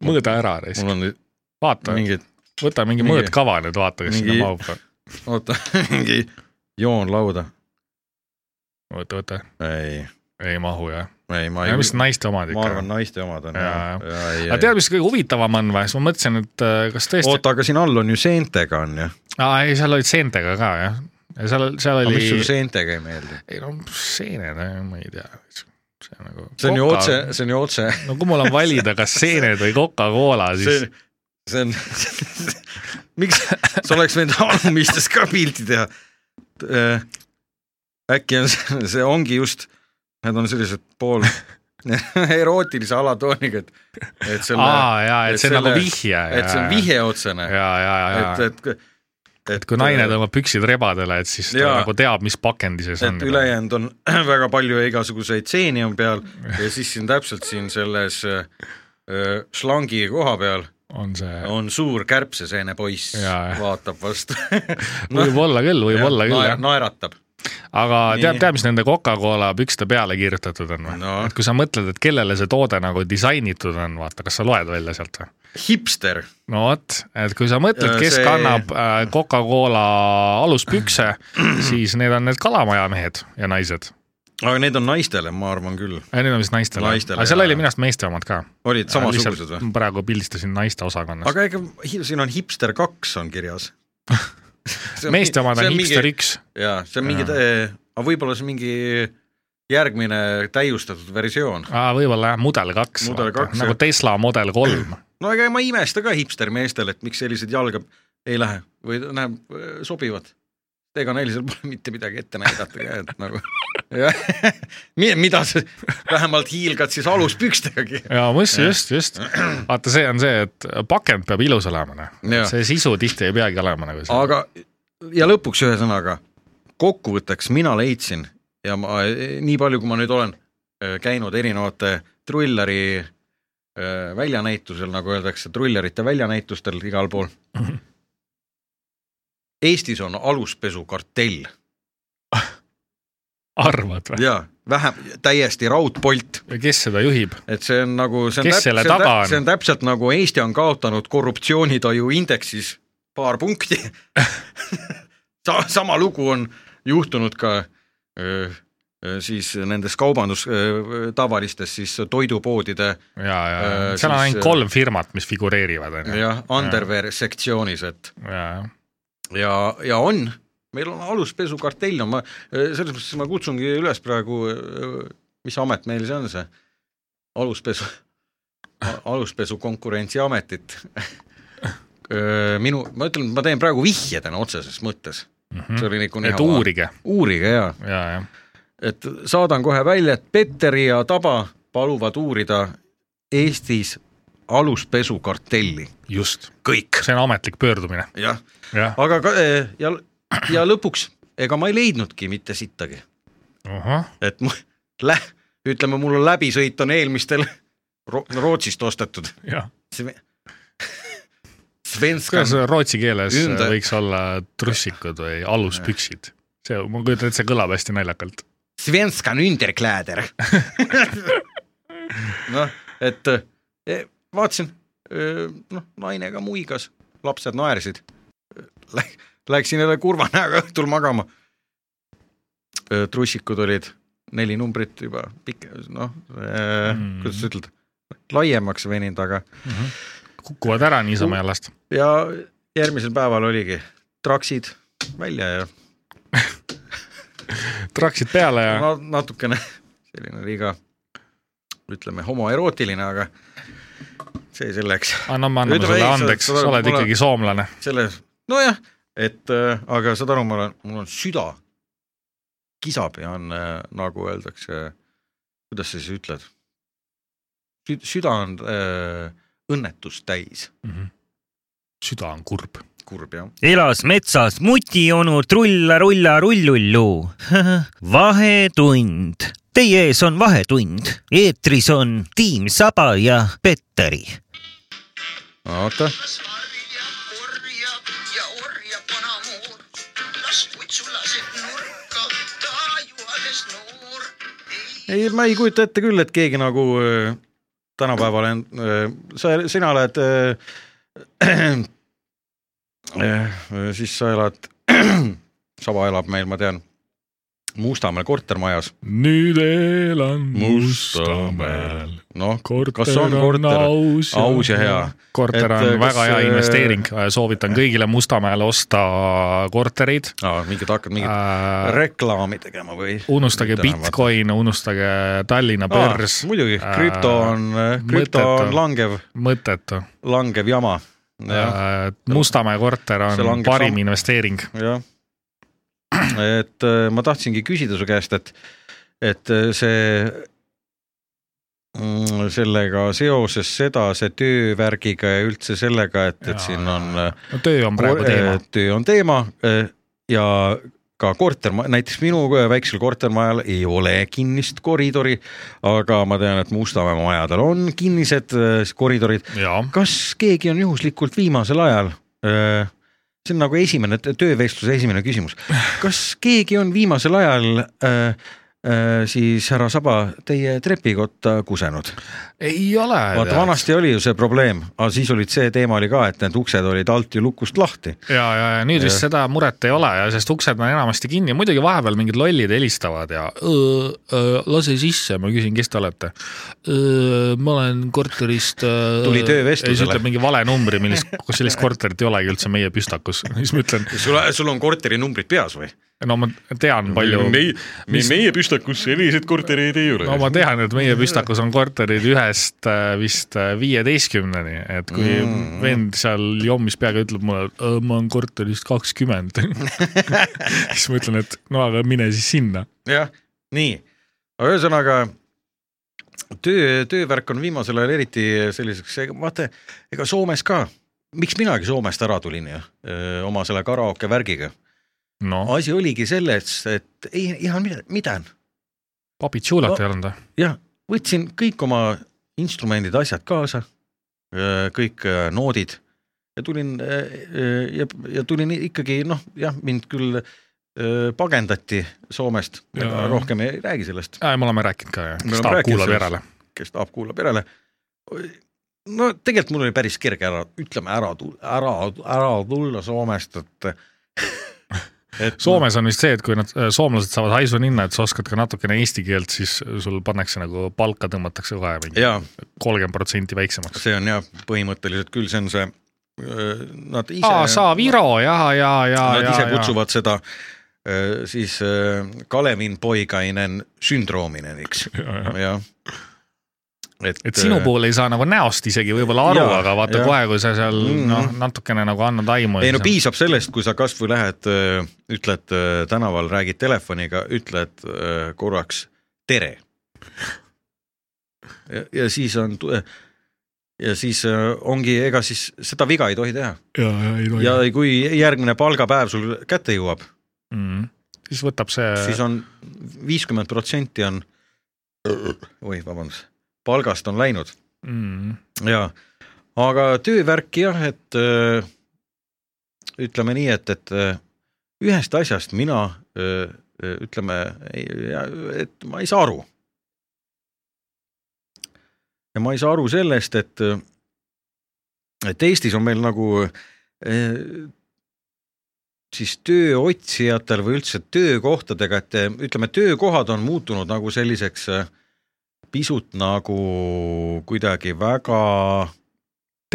Speaker 5: mõõda ära ,
Speaker 4: mul on nüüd
Speaker 5: vaata ,
Speaker 4: mingid ,
Speaker 5: võta mingi
Speaker 4: mingi-
Speaker 5: mõõtkava nüüd , vaata , kas sinna
Speaker 4: mingi-
Speaker 5: mahub või .
Speaker 4: oota , mingi joon lauda .
Speaker 5: oota , oota ,
Speaker 4: ei ,
Speaker 5: ei mahu jah .
Speaker 4: ei , ma
Speaker 5: aga
Speaker 4: ei
Speaker 5: mis , naiste omad
Speaker 4: ma
Speaker 5: ikka
Speaker 4: arvan ,
Speaker 5: on ?
Speaker 4: naiste omad on .
Speaker 5: Jaa, jah. aga tead , mis kõige huvitavam on või , siis ma mõtlesin , et äh, kas tõesti ,
Speaker 4: oota , aga siin all on ju seentega on ju ,
Speaker 5: aa ei , seal olid seentega ka jah . ja seal , seal
Speaker 4: aga
Speaker 5: oli
Speaker 4: mis , sul seentega ei meeldi ?
Speaker 5: ei no seened , ma ei tea , see on nagu .
Speaker 4: see on ju otse , see on ju otse ,
Speaker 5: no kui mul on valida , kas seened või Coca-Cola , siis
Speaker 4: see , see on , miks sa oleks võinud alumistes ka pilti teha ? äkki on see , see ongi just , need on sellised pool erootilise alatooniga , et , et selle
Speaker 5: aa jaa , et see on nagu vihje .
Speaker 4: et see on vihje otsene
Speaker 5: ja , ja , ja ,
Speaker 4: et ,
Speaker 5: ja ,
Speaker 4: et , et, et
Speaker 5: kui naine tõmbab püksid rebadele , et siis ta
Speaker 4: Jaa.
Speaker 5: nagu teab , mis pakendi sees on
Speaker 4: et . ülejäänud on väga palju ja igasuguseid seeni on peal ja siis siin täpselt siin selles äh, äh, slangi koha peal
Speaker 5: on see
Speaker 4: on suur kärbseseenepoiss
Speaker 5: Jaa. ,
Speaker 4: vaatab vastu .
Speaker 5: võib-olla küll , võib-olla küll jah ,
Speaker 4: naeratab .
Speaker 5: aga
Speaker 4: Nii.
Speaker 5: tead , tead , mis nende Coca-Cola pükste peale kirjutatud on või
Speaker 4: No.
Speaker 5: et kui sa mõtled , et kellele see toode nagu disainitud on , vaata , kas sa loed välja sealt või ?
Speaker 4: hipster ,
Speaker 5: no vot , et kui sa mõtled ,
Speaker 4: Ja
Speaker 5: kes see...
Speaker 4: see-
Speaker 5: kannab äh, Coca-Cola aluspükse , siis need on need kalamajamehed ja naised .
Speaker 4: aga need on naistele , ma arvan küll ,
Speaker 5: Need on vist naistele,
Speaker 4: Naistele,
Speaker 5: aga seal
Speaker 4: jaa.
Speaker 5: oli minu arust meeste omad ka .
Speaker 4: olid samasugused või ?
Speaker 5: praegu pildistasin naiste osakonnast .
Speaker 4: aga ega hi- siin on hipster kaks on kirjas .
Speaker 5: meeste omad on hipster . üks .
Speaker 4: jaa , see on mingi , aga võib-olla see on mingi järgmine täiustatud versioon .
Speaker 5: Aa, võib-olla jah , mudel kaks ,
Speaker 4: Mudel kaks,
Speaker 5: nagu
Speaker 4: jah.
Speaker 5: Tesla Model kolm .
Speaker 4: no ega ma ei imesta ka hipstermeestel , et miks sellised jalga ei lähe või näeb , sobivad . ega neil seal pole mitte midagi ette näidata ka , et nagu jah , mida sa vähemalt hiilgad siis aluspükstegagi .
Speaker 5: ja mis just , just , vaata , see on see , et pakend peab ilus olema , noh
Speaker 4: Jaa. .
Speaker 5: see sisu tihti ei peagi olema nagu see .
Speaker 4: aga ja lõpuks ühesõnaga kokkuvõtteks mina leidsin ja ma nii palju , kui ma nüüd olen äh, käinud erinevate trulleri äh, väljanäitusel , nagu öeldakse , trullerite väljanäitustel igal pool . Eestis on aluspesukartell
Speaker 5: arvad või ?
Speaker 4: jaa , vähem , täiesti raudpolt ,
Speaker 5: ja kes seda juhib ?
Speaker 4: et see on nagu , see on
Speaker 5: Kes
Speaker 4: täp-
Speaker 5: selle
Speaker 4: see on
Speaker 5: taga
Speaker 4: täp-
Speaker 5: on?
Speaker 4: see on täpselt nagu Eesti on kaotanud korruptsioonitaju indeksis paar punkti Sa, . sama lugu on juhtunud ka öö, öö, siis nendes kaubandus , tavalistes siis toidupoodide
Speaker 5: ja , ja
Speaker 4: Äh,
Speaker 5: seal on
Speaker 4: siis,
Speaker 5: ainult
Speaker 4: äh,
Speaker 5: kolm firmat , mis figureerivad , on ju .
Speaker 4: jah , underwear sektsioonis , et
Speaker 5: ja , ja
Speaker 4: ja , ja on , meil on aluspesukartell on , ma eh, selles mõttes ma kutsungi üles praegu , mis amet meil see on , see aluspesu , aluspesu konkurentsiametit . Eh, minu , ma ütlen , ma teen praegu vihje täna otseses mõttes ,
Speaker 5: mm .
Speaker 4: see
Speaker 5: -hmm.
Speaker 4: oli nagu
Speaker 5: et . uurige
Speaker 4: uurige ja ,
Speaker 5: ja , ja
Speaker 4: et saadan kohe välja , et Petteri ja Taba paluvad uurida Eestis aluspesukartelli ,
Speaker 5: just ,
Speaker 4: kõik ,
Speaker 5: see on ametlik pöördumine ,
Speaker 4: jah
Speaker 5: jah .
Speaker 4: aga ka, eh, ja , ja lõpuks , ega ma ei leidnudki mitte sittagi , et ma lä- , ütleme , mul on läbisõit on eelmistel Ro Rootsist ostetud . Svenska
Speaker 5: kuidas rootsi keeles
Speaker 4: Ünde-
Speaker 5: võiks olla trussikud või aluspüksid ? see , ma kujutan ette , see kõlab hästi naljakalt .
Speaker 4: Svenskan Underkläder . noh , et eh, vaatasin , noh , naine ka muigas , lapsed naersid . Läksin jälle kurva näoga õhtul magama . trussikud olid neli numbrit juba pikk , noh eh,
Speaker 5: Mm. ,
Speaker 4: kuidas sa ütled , laiemaks veninud , aga
Speaker 5: kukuvad ära niisama jalast .
Speaker 4: ja järgmisel päeval oligi traksid välja ja
Speaker 5: traksid peale ja
Speaker 4: no natukene selline liiga ütleme homoerootiline , aga see selleks ,
Speaker 5: anname , anname
Speaker 4: Ütleme
Speaker 5: sulle
Speaker 4: ei, sa-
Speaker 5: andeks ,
Speaker 4: sa
Speaker 5: sa
Speaker 4: oled-
Speaker 5: oled
Speaker 4: mul on-
Speaker 5: ikkagi soomlane .
Speaker 4: selle nojah , et äh, aga saad aru , ma olen , mul on süda kisab ja on äh, nagu öeldakse , kuidas sa siis ütled , süda on äh, õnnetust täis ,
Speaker 5: süda on kurb .
Speaker 4: kurb jah .
Speaker 1: elas metsas mutionu trulla-rulla-rullullu . vahetund . Teie ees on Vahetund , eetris on Tiim Saba ja Petteri .
Speaker 4: oota , ei , ma ei kujuta ette küll , et keegi nagu äh, tänapäeval on , sa , sina oled äh, , äh, siis sa elad , Saba elab meil , ma tean , Mustamäel kortermajas ,
Speaker 5: nüüd elan
Speaker 7: Mustamäel. .
Speaker 4: noh ,
Speaker 5: korter
Speaker 4: Kas on
Speaker 5: on
Speaker 4: korter?
Speaker 5: aus ja,
Speaker 4: Aus ja hea.
Speaker 5: korter
Speaker 4: Et,
Speaker 5: on
Speaker 4: kas,
Speaker 5: väga hea
Speaker 4: äh,
Speaker 5: investeering , soovitan kõigile Mustamäele osta korterid .
Speaker 4: mingid hakkad mingit äh, reklaami tegema või ?
Speaker 5: unustage Bitcoin , unustage Tallinna
Speaker 4: Ah,
Speaker 5: börs ,
Speaker 4: muidugi , krüpto on , krüpto
Speaker 5: mõttetu.
Speaker 4: on langev ,
Speaker 5: mõttetu .
Speaker 4: langev jama , jah ,
Speaker 5: Mustamäe korter
Speaker 4: see
Speaker 5: on
Speaker 4: langeb
Speaker 5: parim
Speaker 4: samm-
Speaker 5: investeering .
Speaker 4: jah . et äh, ma tahtsingi küsida su käest , et , et äh, see mm, sellega seoses seda , see töövärgiga ja üldse sellega , et ,
Speaker 5: Jaa,
Speaker 4: et siin on äh,
Speaker 5: no töö on praegu
Speaker 4: Kor-
Speaker 5: teema
Speaker 4: eh, . töö on teema eh, ja ka korterma , näiteks minu äh, väiksel kortermajal ei ole kinnist koridori , aga ma tean , et Mustamäe majadel on kinnised eh, koridorid .
Speaker 5: jaa ,
Speaker 4: kas keegi on juhuslikult viimasel ajal , see on nagu esimene t- töövestluse esimene küsimus , kas keegi on viimasel ajal eh, eh, siis härra Saba teie trepikotta kusenud ?
Speaker 5: ei ole .
Speaker 4: vaata , vanasti oli ju see probleem , aga siis olid see teema oli ka , et need uksed olid alt ju lukust lahti .
Speaker 5: ja , ja , ja nüüd vist seda muret ei ole ja sest uksed on enamasti kinni , muidugi vahepeal mingid lollid helistavad ja "Öö, öö, lase sisse , ma küsin , kes te olete . ma olen korterist .
Speaker 4: Tuli töövestlusele.
Speaker 5: siis ütleb mingi vale numbri , millist , kus sellist korterit ei olegi üldse meie püstakus , siis ma ütlen ,
Speaker 4: sul , sul on korteri numbrid peas või ?
Speaker 5: no ma tean palju .
Speaker 7: Nei, meie püstakus selliseid kortereid ei ole
Speaker 5: no ma tean , et meie püstakus on korterid ühest äh, vist äh, viieteistkümneni , et kui mm. vend seal jommis peaga ütleb mulle , ma olen korterist kakskümmend , siis ma ütlen , et no aga mine siis sinna .
Speaker 4: jah , nii , aga ühesõnaga töö , töövärk on viimasel ajal eriti selliseks , vaata , ega Soomes ka , miks minagi Soomest ära tulin ju , oma selle karaoke värgiga ,
Speaker 5: noh ,
Speaker 4: asi oligi selles , et ei , ihan mida , mida ,
Speaker 5: papitsuulat
Speaker 4: No.
Speaker 5: ei olnud või ?
Speaker 4: jah , võtsin kõik oma instrumendid , asjad kaasa , kõik äh, noodid ja tulin äh, äh, ja , ja tulin ikkagi noh , jah , mind küll öö, pagendati Soomest ,
Speaker 5: Jaa.
Speaker 4: rohkem ei räägi sellest ,
Speaker 5: aa , me oleme rääkinud ka jah ,
Speaker 4: Me oleme
Speaker 5: staap
Speaker 4: rääkinud
Speaker 5: kuulab
Speaker 4: sellest.
Speaker 5: järele .
Speaker 4: kes tahab , kuulab järele . no tegelikult mul oli päris kerge ära , ütleme ära , ära , ära tulla Soomest , et et
Speaker 5: Soomes on vist see , et kui nad , soomlased saavad haisu ninna , et sa oskad ka natukene eesti keelt , siis sul pannakse nagu palka tõmmatakse kohe mingi
Speaker 4: jaa ,
Speaker 5: kolmkümmend protsenti väiksemaks .
Speaker 4: see on jah , põhimõtteliselt küll , see on see , nad ise
Speaker 5: aa , sa Viro ja , ja , ja ,
Speaker 4: Nad ise
Speaker 5: ja , ja .
Speaker 4: kutsuvad seda öö, siis öö, Kalevin Poikainen sündroomineniks , jah .
Speaker 5: et sinu . puhul ei saa nagu näost isegi võib-olla aru ,
Speaker 4: Äh. Jaa,
Speaker 5: aga vaata
Speaker 4: jah.
Speaker 5: kohe , kui sa seal
Speaker 4: Mhm.
Speaker 5: noh , natukene nagu annad aimu .
Speaker 4: ei no . piisab sellest , kui sa kasvõi lähed , ütled öö, tänaval , räägid telefoniga , ütled öö, korraks tere . ja siis on , ja siis öö, ongi , ega siis seda viga ei tohi teha
Speaker 5: ja , ja ei
Speaker 4: ja
Speaker 5: tohi .
Speaker 4: kui järgmine palgapäev sul kätte jõuab ,
Speaker 5: Mhm. siis võtab see ,
Speaker 4: siis on viiskümmend protsenti on , oi , vabandust , palgast on läinud
Speaker 5: Mm.
Speaker 4: jaa , aga töövärk jah , et öö, ütleme nii , et , et öö, ühest asjast mina öö, öö, ütleme , et ma ei saa aru . ja ma ei saa aru sellest , et , et Eestis on meil nagu öö, siis tööotsijatel või üldse töökohtadega , et öö, ütleme , töökohad on muutunud nagu selliseks öö, pisut nagu kuidagi väga ,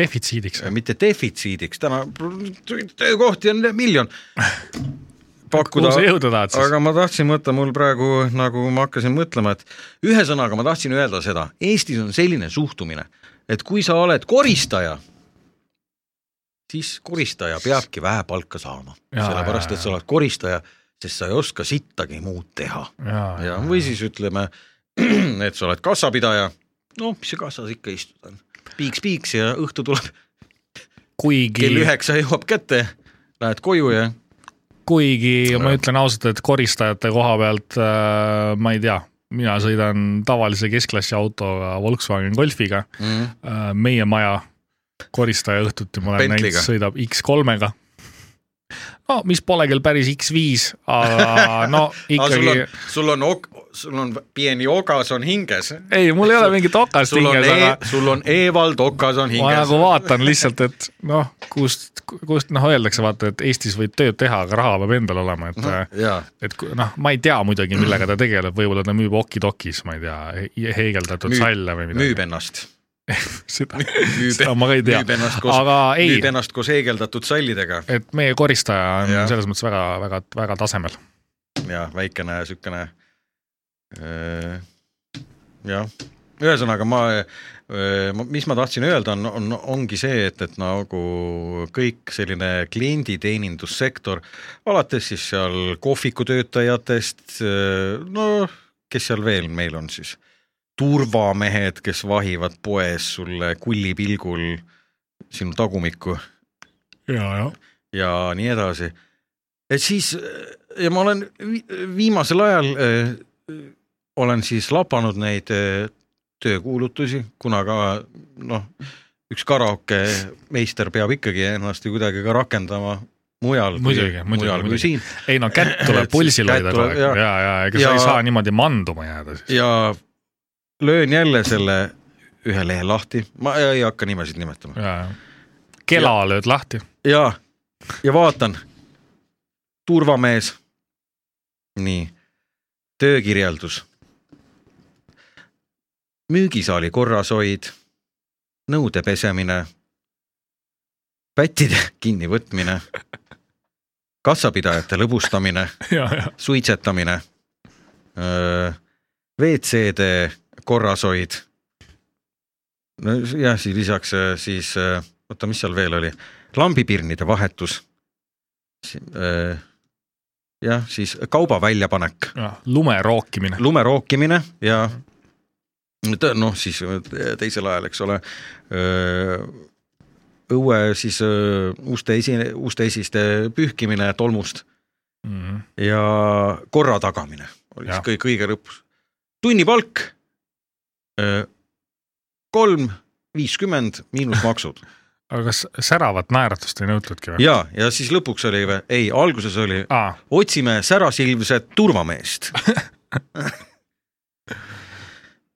Speaker 5: defitsiidiks .
Speaker 4: Äh, mitte defitsiidiks , täna töökohti on miljon
Speaker 5: kuhu
Speaker 4: pakkuda
Speaker 5: sa , jõuda tahad siis ?
Speaker 4: aga ma tahtsin võtta mul praegu nagu ma hakkasin mõtlema , et ühesõnaga ma tahtsin öelda seda , Eestis on selline suhtumine , et kui sa oled koristaja , siis koristaja peabki vähe palka saama ,
Speaker 5: Jaa,
Speaker 4: sellepärast
Speaker 5: jaa,
Speaker 4: et sa oled koristaja , sest sa ei oska sittagi muud teha ja või siis ütleme , et sa oled kassapidaja , no mis see kassas ikka istuda on , piiks-piiks ja õhtu tuleb , kell
Speaker 5: kuigi ,
Speaker 4: üheksa jõuab kätte , lähed koju ja
Speaker 5: kuigi ma ütlen ausalt , et koristajate koha pealt äh, ma ei tea , mina sõidan tavalise keskklassi autoga Volkswagen Golfiga
Speaker 4: mm,
Speaker 5: äh, , meie maja koristaja õhtuti ma olen näinud
Speaker 4: Bentley'ga. ,
Speaker 5: sõidab X3-ga . no mis pole küll päris X5 , aga no
Speaker 4: aga sul on
Speaker 5: ikkagi ,,
Speaker 4: sul on ok, , sul on pieni okas on hinges ,
Speaker 5: ei , mul ei ole mingit okast
Speaker 4: sul on
Speaker 5: hinges ,
Speaker 4: e,
Speaker 5: aga ,
Speaker 4: sul on Evald okas on
Speaker 5: ma
Speaker 4: hinges
Speaker 5: nagu , vaatan lihtsalt , et noh , kust , kust noh , öeldakse vaata , et Eestis võib tööd teha , aga raha peab endal olema , et äh,
Speaker 4: jaa ,
Speaker 5: et kui- noh , ma ei tea muidugi , millega ta tegeleb , võib-olla ta müüb okidokis , ma ei tea he , heegeldatud
Speaker 4: Müüb-
Speaker 5: salle või midagi .
Speaker 4: müüb ennast .
Speaker 5: seda ,
Speaker 4: müüb
Speaker 5: seda ma ka ei tea
Speaker 4: müüb ennast , koos-
Speaker 5: aga ei
Speaker 4: müüb , ennast koos heegeldatud sallidega
Speaker 5: et meie koristaja on ja.
Speaker 4: Jah.
Speaker 5: selles mõttes väga , väga , väga tasemel .
Speaker 4: ja väikene niisugune öö, jah , ühesõnaga ma , mis ma tahtsin öelda , on , on , ongi see , et , et nagu kõik selline klienditeenindussektor , alates siis seal kohvikutöötajatest , no kes seal veel meil on siis , turvamehed , kes vahivad poes sulle kullipilgul sinu tagumikku
Speaker 5: ja , ja ,
Speaker 4: ja nii edasi . et siis ja ma olen vi- viimasel ajal äh, olen siis lapanud neid äh, töökuulutusi , kuna ka noh , üks karaoke meister peab ikkagi ennast ju kuidagi ka rakendama mujal ,
Speaker 5: Muidugi, muidugi,
Speaker 4: mujal kui
Speaker 5: muidugi.
Speaker 4: siin
Speaker 5: ei no kätt tuleb
Speaker 4: Et
Speaker 5: pulsil
Speaker 4: kätt
Speaker 5: hoida kogu aeg
Speaker 4: tuleb-
Speaker 5: ja
Speaker 4: jah. ,
Speaker 5: ja , ja ega sa
Speaker 4: Ja-
Speaker 5: ei saa niimoodi manduma jääda siis .
Speaker 4: ja löön jälle selle ühe lehe lahti , ma ei ei hakka nimesid nimetama .
Speaker 5: ja , ja kela ja. lööd lahti ,
Speaker 4: ja , ja vaatan , turvamees . nii , töökirjeldus . müügisaali korrashoid , nõude pesemine , pättide kinnivõtmine , kassapidajate lõbustamine ,
Speaker 5: ja , ja ,
Speaker 4: suitsetamine , WC-de korrashoid . no jah , siis lisaks öö, siis , oota , mis seal veel oli , lambipirnide vahetus . jah , siis kauba väljapanek ,
Speaker 5: ja lume rookimine .
Speaker 4: lume rookimine ja tõ- noh , siis öö, teisel ajal , eks ole , õue siis öö, uste esi , uste esiste pühkimine tolmust
Speaker 5: Mhm.
Speaker 4: ja korra tagamine oli
Speaker 5: Jah.
Speaker 4: siis kõige , kõige lõpus . tunnipalk äh, kolm viiskümmend miinus maksud
Speaker 5: aga kas säravat naeratust ei nõutudki või ?
Speaker 4: ja , ja siis lõpuks oli või , ei , alguses oli ,
Speaker 5: aa ,
Speaker 4: otsime särasilmset turvameest .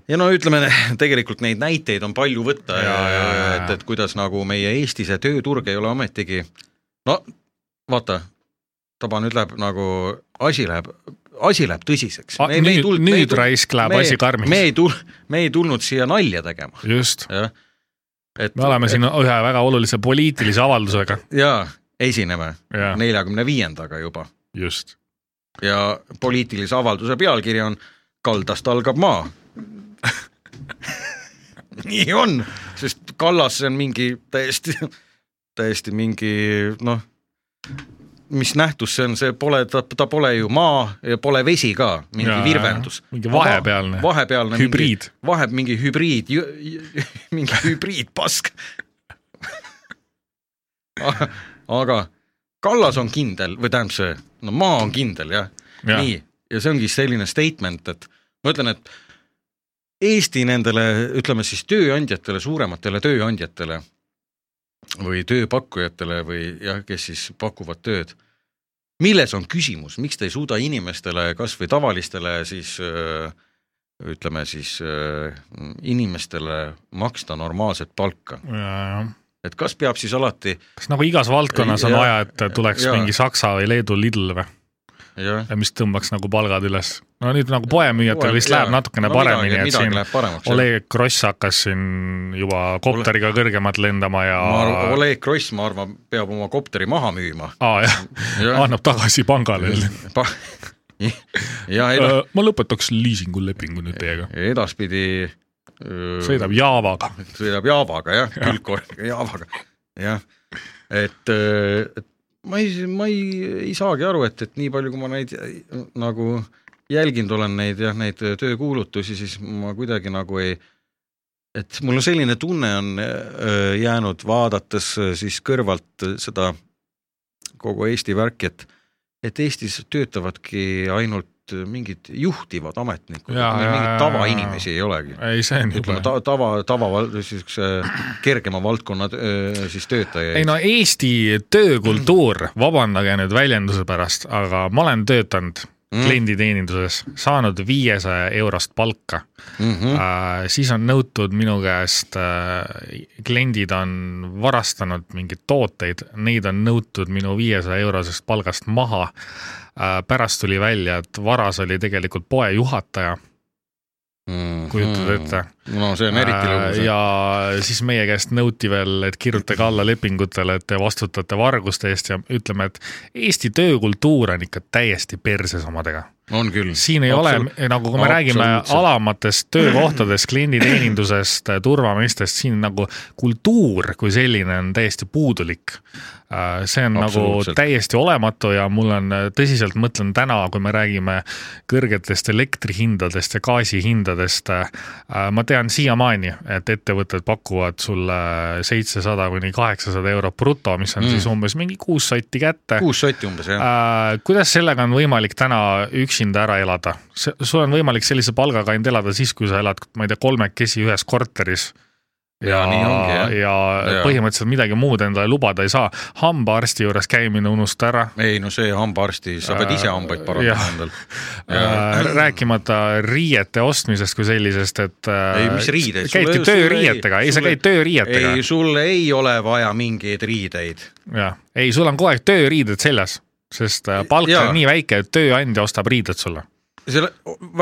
Speaker 4: ja no ütleme , tegelikult neid näiteid on palju võtta ja,
Speaker 5: Jaa,
Speaker 4: ja ,
Speaker 5: jaa,
Speaker 4: ja
Speaker 5: jaa,
Speaker 4: et ,
Speaker 5: jaa.
Speaker 4: et kuidas nagu meie Eesti see tööturg ei ole ometigi , no vaata , taba nüüd läheb nagu , asi läheb , asi läheb tõsiseks .
Speaker 5: nüüd , nüüd raisk läheb asi
Speaker 4: me
Speaker 5: karmiks .
Speaker 4: ei tul- , me ei tulnud siia nalja tegema ,
Speaker 5: just ,
Speaker 4: jah . et
Speaker 5: me oleme siin ühe väga olulise poliitilise avaldusega .
Speaker 4: jaa , esineme
Speaker 5: Jaa.
Speaker 4: neljakümne viiendaga juba
Speaker 5: just .
Speaker 4: ja poliitilise avalduse pealkiri on Kaldast algab maa . nii on , sest kallas see on mingi täiesti , täiesti mingi noh , mis nähtus see on , see pole , ta , ta pole ju maa ja pole vesi ka , mingi
Speaker 5: Jaa,
Speaker 4: ja, virvendus
Speaker 5: jaa. Mingi vahepealne.
Speaker 4: vahepealne
Speaker 5: Hübriid.
Speaker 4: mingi, , vahe , mingi hübriid , mingi hübriidpask A- aga Kallas on kindel või tähendab see , no maa on kindel jah ja. ,
Speaker 5: Jah.
Speaker 4: nii , ja see ongi selline statement , et ma ütlen , et Eesti nendele , ütleme siis tööandjatele , suurematele tööandjatele või tööpakkujatele või jah , kes siis pakuvad tööd , milles on küsimus , miks te ei suuda inimestele , kas või tavalistele siis öö, ütleme siis öö, inimestele maksta normaalset palka ,
Speaker 5: kas
Speaker 4: et kas peab siis alati
Speaker 5: nagu igas valdkonnas on
Speaker 4: Jaa.
Speaker 5: vaja , et tuleks
Speaker 4: Jaa.
Speaker 5: mingi Saksa või Leedu lill või ,
Speaker 4: jah
Speaker 5: mis tõmbaks nagu palgad üles ? no nüüd nagu poemüüjatel
Speaker 4: Poe-
Speaker 5: vist
Speaker 4: jaa.
Speaker 5: läheb natukene
Speaker 4: No
Speaker 5: paremini ,
Speaker 4: midagi-
Speaker 5: et
Speaker 4: midagi
Speaker 5: siin
Speaker 4: läheb paremaks, jah.
Speaker 5: Oleg Gross hakkas siin juba kopteriga kõrgemalt lendama ja
Speaker 4: ma arvan , Oleg Gross , ma arvan , peab oma kopteri maha müüma .
Speaker 5: aa jah , Ah,
Speaker 4: Jah.
Speaker 5: annab tagasi pangale .
Speaker 4: ja eda-
Speaker 5: ma lõpetaks liisingulepingu nüüd teiega .
Speaker 4: edaspidi äh, öö,
Speaker 5: sõidab Javaga .
Speaker 4: sõidab Javaga jah , külgkorraga Javaga , jah . et , et ma ei , ma ei , ei saagi aru , et , et nii palju , kui ma neid äh, nagu jälginud olen neid jah , neid töökuulutusi , siis ma kuidagi nagu ei et mul on selline tunne on öö, jäänud , vaadates öö, siis kõrvalt öö, seda kogu Eesti värki , et et Eestis töötavadki ainult öö, mingid juhtivad ametnikud ,
Speaker 5: Jaa, jaa, jaa,
Speaker 4: mingeid
Speaker 5: jaa.
Speaker 4: tavainimesi ei olegi .
Speaker 5: ei , see on
Speaker 4: ütleme
Speaker 5: jube .
Speaker 4: ta, tava , tavaval- , niisuguse kergema valdkonna öö, siis töötajaid .
Speaker 5: ei no Eesti töökultuur , vabandage nüüd väljenduse pärast , aga ma olen töötanud
Speaker 4: Mm.
Speaker 5: klienditeeninduses , saanud viiesaja eurost palka
Speaker 4: mm . -hmm.
Speaker 5: äh, . siis on nõutud minu käest äh, , kliendid on varastanud mingeid tooteid , neid on nõutud minu viiesaja eurosest palgast maha äh, . pärast tuli välja , et varas oli tegelikult poe juhataja , Ah, kujutad ette .
Speaker 4: Mhm. no Mm. see on eriti lõbus .
Speaker 5: ja siis meie käest nõuti veel , et kirjutage alla lepingutele , et te vastutate varguste eest ja ütleme , et Eesti töökultuur on ikka täiesti perses omadega .
Speaker 4: on küll .
Speaker 5: siin ei Absolut ole , nagu kui me räägime alamatest töökohtadest , klienditeenindusest , turvameestest , siin nagu kultuur kui selline on täiesti puudulik . see on nagu
Speaker 4: Absoluutselt.
Speaker 5: täiesti olematu ja mul on , tõsiselt mõtlen täna , kui me räägime kõrgetest elektrihindadest ja gaasihindadest . ma tean siiamaani , et ettevõtted pakuvad sulle seitsesada kuni kaheksasada eurot bruto , mis on mm. siis umbes mingi kuus sotti kätte
Speaker 4: kuus sotti umbes jah ,
Speaker 5: Äh, kuidas sellega on võimalik täna üksinda ära elada ? sul on võimalik sellise palgaga ainult elada siis , kui sa elad , ma ei tea , kolmekesi ühes korteris .
Speaker 4: Ja nii ongi, jah.
Speaker 5: ja, ja
Speaker 4: Ja.
Speaker 5: põhimõtteliselt middaagi muud endale lubada ei saa . hambaarsti juures käimine unusta ära .
Speaker 4: ei no see hambaarsti , sa pead ise hambaid
Speaker 5: jah.
Speaker 4: parandama endal .
Speaker 5: Äh, rääkimata riiete ostmisest kui sellisest , et .
Speaker 4: ei , mis riideid ?
Speaker 5: käidki tööriietega , ei sa käid tööriietega
Speaker 4: ei ,. sul ei ole vaja mingeid riideid .
Speaker 5: jah , ei , sul on kogu aeg tööriided seljas , sest äh, palk
Speaker 4: Jaa.
Speaker 5: on nii väike , et tööandja ostab riided sulle
Speaker 4: selle ,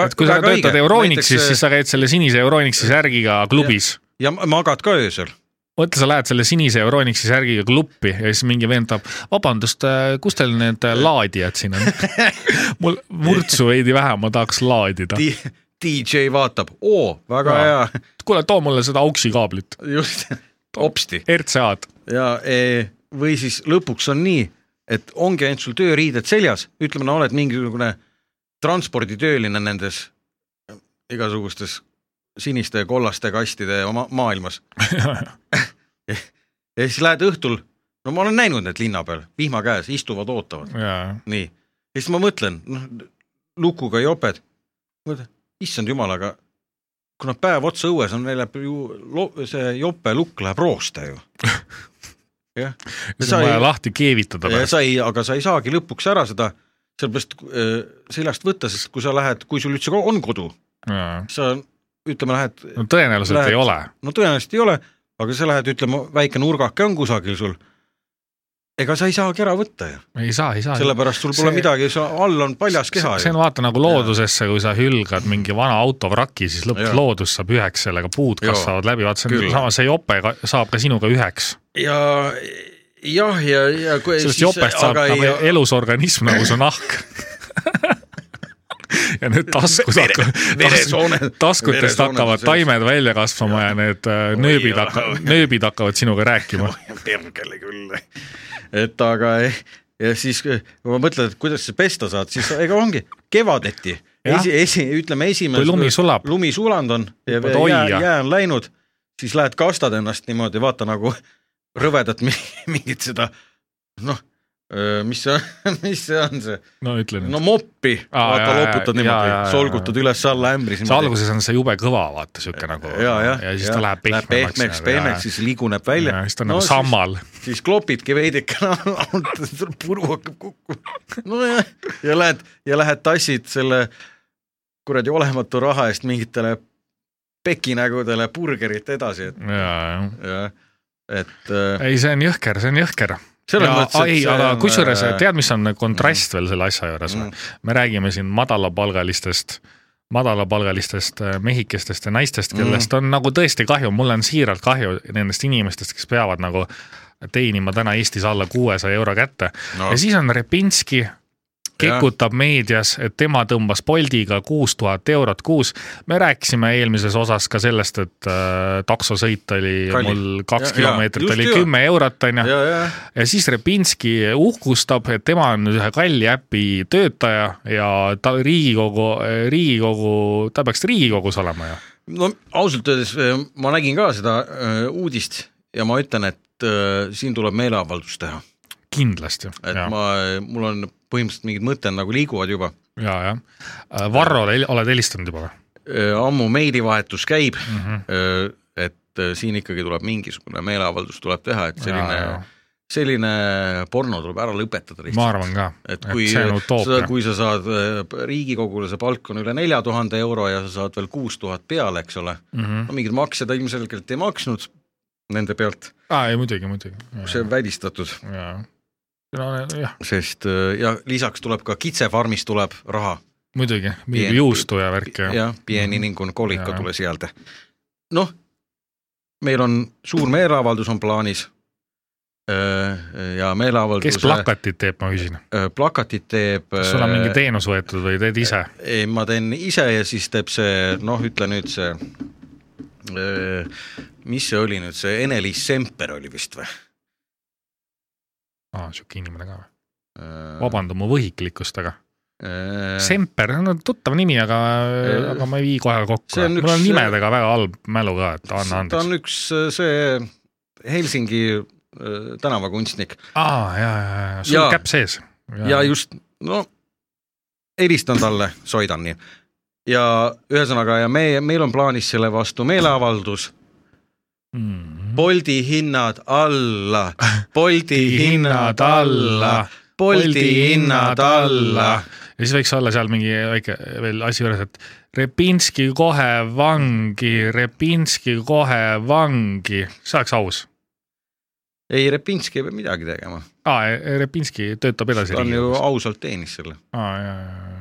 Speaker 5: et kui sa töötad Euronixis , siis sa käid selle sinise Euronixi särgiga klubis .
Speaker 4: äh, ja magad ka öösel .
Speaker 5: mõtle , sa lähed selle sinise Euronixi särgiga kluppi ja siis mingi vend tahab , vabandust , kus teil need äh, laadijad siin on ? mul vurtsu veidi vähe , ma tahaks laadida .
Speaker 4: DJ vaatab , oo , väga
Speaker 5: Jaa.
Speaker 4: hea ,
Speaker 5: kuule , too mulle seda auksi kaablit ,
Speaker 4: just , hopsti .
Speaker 5: RCA-d .
Speaker 4: ja eh, või siis lõpuks on nii , et ongi ainult sul tööriided seljas , ütleme , no oled mingisugune transporditööline nendes eh, igasugustes siniste ja kollaste kastide oma maailmas . ja siis lähed õhtul , no ma olen näinud need linna peal , vihma käes , istuvad , ootavad , nii . ja siis ma mõtlen , noh , lukuga joped , mõtlen , issand jumal , aga kuna päev otsa õues on , neil läheb ju , see jope lukk läheb rooste ju jah .
Speaker 5: siis on vaja lahti keevitada
Speaker 4: Ja
Speaker 5: pärast .
Speaker 4: sa ei , aga sa ei saagi lõpuks ära seda sellepärast äh, seljast võtta , sest kui sa lähed , kui sul üldse ka on kodu ,
Speaker 5: no
Speaker 4: sa ütleme , lähed ,
Speaker 5: tõenäoliselt
Speaker 4: Lähed-
Speaker 5: ei ole .
Speaker 4: no tõenäoliselt ei ole , aga sa lähed , ütleme , väike nurgake on kusagil sul . ega sa ei saagi ära võtta ju ,
Speaker 5: ei saa , ei saa .
Speaker 4: sellepärast sul pole
Speaker 5: see-
Speaker 4: see... midagi , sa all on paljas keha
Speaker 5: see on
Speaker 4: ju .
Speaker 5: vaata nagu loodusesse , kui sa hülgad mingi vana autovraki , siis lõpuks
Speaker 4: Jaa.
Speaker 5: loodus saab üheks sellega , puud
Speaker 4: Jaa.
Speaker 5: kasvavad läbi , vaata see on
Speaker 4: Küll.
Speaker 5: sama , see jope ka- saab ka sinuga üheks .
Speaker 4: ja jah , ja , ja kui
Speaker 5: sellest jopest saab
Speaker 4: aga
Speaker 5: nagu
Speaker 4: ei ,
Speaker 5: elus organism nagu su nahk . ja need taskud
Speaker 4: Vere- veresoone-
Speaker 5: hakkavad , taskutest
Speaker 4: veresooned on
Speaker 5: hakkavad
Speaker 4: sees.
Speaker 5: taimed välja kasvama ja need äh, nööbid
Speaker 4: jaa.
Speaker 5: hakkavad , nööbid hakkavad sinuga rääkima .
Speaker 4: pergele küll . et aga eh, ja siis , kui ma mõtlen , et kuidas sa pesta saad , siis ega ongi kevadeti ,
Speaker 5: Jah.
Speaker 4: esi , esi , ütleme esimene .
Speaker 5: Kui lumi sulab.
Speaker 4: lumi sulanud on ja
Speaker 5: Hüppad
Speaker 4: jää,
Speaker 5: oia.
Speaker 4: jää on läinud , siis lähed kastad ennast niimoodi , vaata nagu rõvedat mi- mingit seda noh , mis see on , mis see on see ,
Speaker 5: no ütle nüüd
Speaker 4: no . moppi ,
Speaker 5: Aa,
Speaker 4: vaata
Speaker 5: jaa,
Speaker 4: looputad
Speaker 5: jaa, jaa,
Speaker 4: niimoodi
Speaker 5: jaa, ,
Speaker 4: solgutad üles-alla ämbris .
Speaker 5: see alguses on see jube kõva , vaata sihuke nagu
Speaker 4: ja , jah ,
Speaker 5: ja siis ta läheb pehmemaks . nagu,
Speaker 4: pehmeks , pehmeks , siis liiguneb välja .
Speaker 5: siis ta on nagu sammal .
Speaker 4: siis klopidki veidikene alt , puru hakkab kukkuma . nojah , ja lähed ja lähed tassid selle kuradi olematu raha eest mingitele pekinägudele burgerit edasi , et
Speaker 5: ja , jah .
Speaker 4: jah , et äh,
Speaker 5: ei , see on jõhker , see on jõhker .
Speaker 4: selles mõttes , et
Speaker 5: ei ,
Speaker 4: see
Speaker 5: aga
Speaker 4: on,
Speaker 5: kusjuures
Speaker 4: äh,
Speaker 5: tead , mis on kontrast veel selle asja juures või
Speaker 4: Mm. ?
Speaker 5: me räägime siin madalapalgalistest , madalapalgalistest äh, mehikestest ja naistest ,
Speaker 4: Mm.
Speaker 5: kellest on nagu tõesti kahju , mul on siiralt kahju nendest inimestest , kes peavad nagu teenima täna Eestis alla kuuesaja euro kätte no.
Speaker 4: No.
Speaker 5: ja siis on Repinski kekutab meedias , et tema tõmbas Boltiga kuus tuhat eurot kuus . me rääkisime eelmises osas ka sellest , et äh, taksosõit oli
Speaker 4: Kallis.
Speaker 5: Kalli. mul kaks
Speaker 4: Ja- ja,
Speaker 5: kilomeetrit
Speaker 4: just
Speaker 5: oli
Speaker 4: ju.
Speaker 5: kümme eurot , onju .
Speaker 4: ja , ja ,
Speaker 5: ja siis Repinski uhkustab , et tema on ühe kalli äpi töötaja ja ta Riigikogu , Riigikogu , ta peaks Riigikogus olema ju .
Speaker 4: no ausalt öeldes äh, ma nägin ka seda äh, uudist ja ma ütlen , et äh, siin tuleb meeleavaldus teha ,
Speaker 5: kindlasti .
Speaker 4: et ja. ma , mul on põhimõtteliselt mingid mõtted nagu liiguvad juba
Speaker 5: ja , jah . Varrole hel- oled helistanud juba või ?
Speaker 4: Äh, ammu meilivahetus käib mm ,
Speaker 5: Mhm.
Speaker 4: -hmm. et äh, siin ikkagi tuleb mingisugune meeleavaldus tuleb teha , et selline
Speaker 5: Jaa, jaa. ,
Speaker 4: selline porno tuleb ära lõpetada
Speaker 5: ma
Speaker 4: lihtsalt .
Speaker 5: arvan ka ,
Speaker 4: et
Speaker 5: et
Speaker 4: kui
Speaker 5: see on
Speaker 4: sa ,
Speaker 5: utoopia .
Speaker 4: kui sa saad äh, riigikogulase palk on üle nelja tuhande euro ja sa saad veel kuus tuhat peale , eks ole ,
Speaker 5: Mhm.
Speaker 4: no mingid makse ta ilmselgelt ei maksnud nende pealt ,
Speaker 5: aa , Ah, ei muidugi , muidugi .
Speaker 4: see on välistatud ,
Speaker 5: jaa . no jah ,
Speaker 4: sest äh, ja lisaks tuleb ka kitsefarmis tuleb raha
Speaker 5: muidugi , mingi
Speaker 4: Pien-
Speaker 5: juustu ja värk ja .
Speaker 4: jah , pieni ning on kolika
Speaker 5: Jaa.
Speaker 4: tule sieltä . noh , meil on suur meeleavaldus on plaanis Öö, ja
Speaker 5: kes
Speaker 4: meeleavalduse
Speaker 5: plakatit teeb , ma küsin .
Speaker 4: öö, plakatit teeb
Speaker 5: kas sul on mingi teenus võetud või teed ise ?
Speaker 4: ei , ma teen ise ja siis teeb see noh , ütle nüüd see öö, mis see oli nüüd , see Ene-Liis Semper oli vist või ?
Speaker 5: aa , sihuke inimene ka või ? vabandan mu võhiklikkust , aga .
Speaker 4: Semper .
Speaker 5: Semper , no tuttav nimi , aga
Speaker 4: Eh, ,
Speaker 5: aga ma ei vii kohe kokku
Speaker 4: see . on
Speaker 5: mul on
Speaker 4: üks-
Speaker 5: nimedega väga halb mälu ka , et anna
Speaker 4: ta
Speaker 5: andeks .
Speaker 4: on üks öö, see Helsingi öö, tänavakunstnik ,
Speaker 5: aa , ja , ja , ja , sul
Speaker 4: Jaa.
Speaker 5: käpp sees .
Speaker 4: ja just , no helistan talle , soidan nii . ja ühesõnaga ja me , meil on plaanis selle vastu meeleavaldus ,
Speaker 5: Mhm.
Speaker 4: Boldi hinnad alla , Boldi hinnad alla , Boldi hinnad alla .
Speaker 5: ja siis võiks olla seal mingi väike veel asi juures , et Repinski kohe vangi , Repinski kohe vangi , see oleks aus .
Speaker 4: ei , Repinski ei pea midagi tegema ,
Speaker 5: aa , Ah, e, Repinski töötab edasi
Speaker 4: ta on ju
Speaker 5: Riigikogus .
Speaker 4: ausalt teenis selle ,
Speaker 5: aa , jaa , jaa ,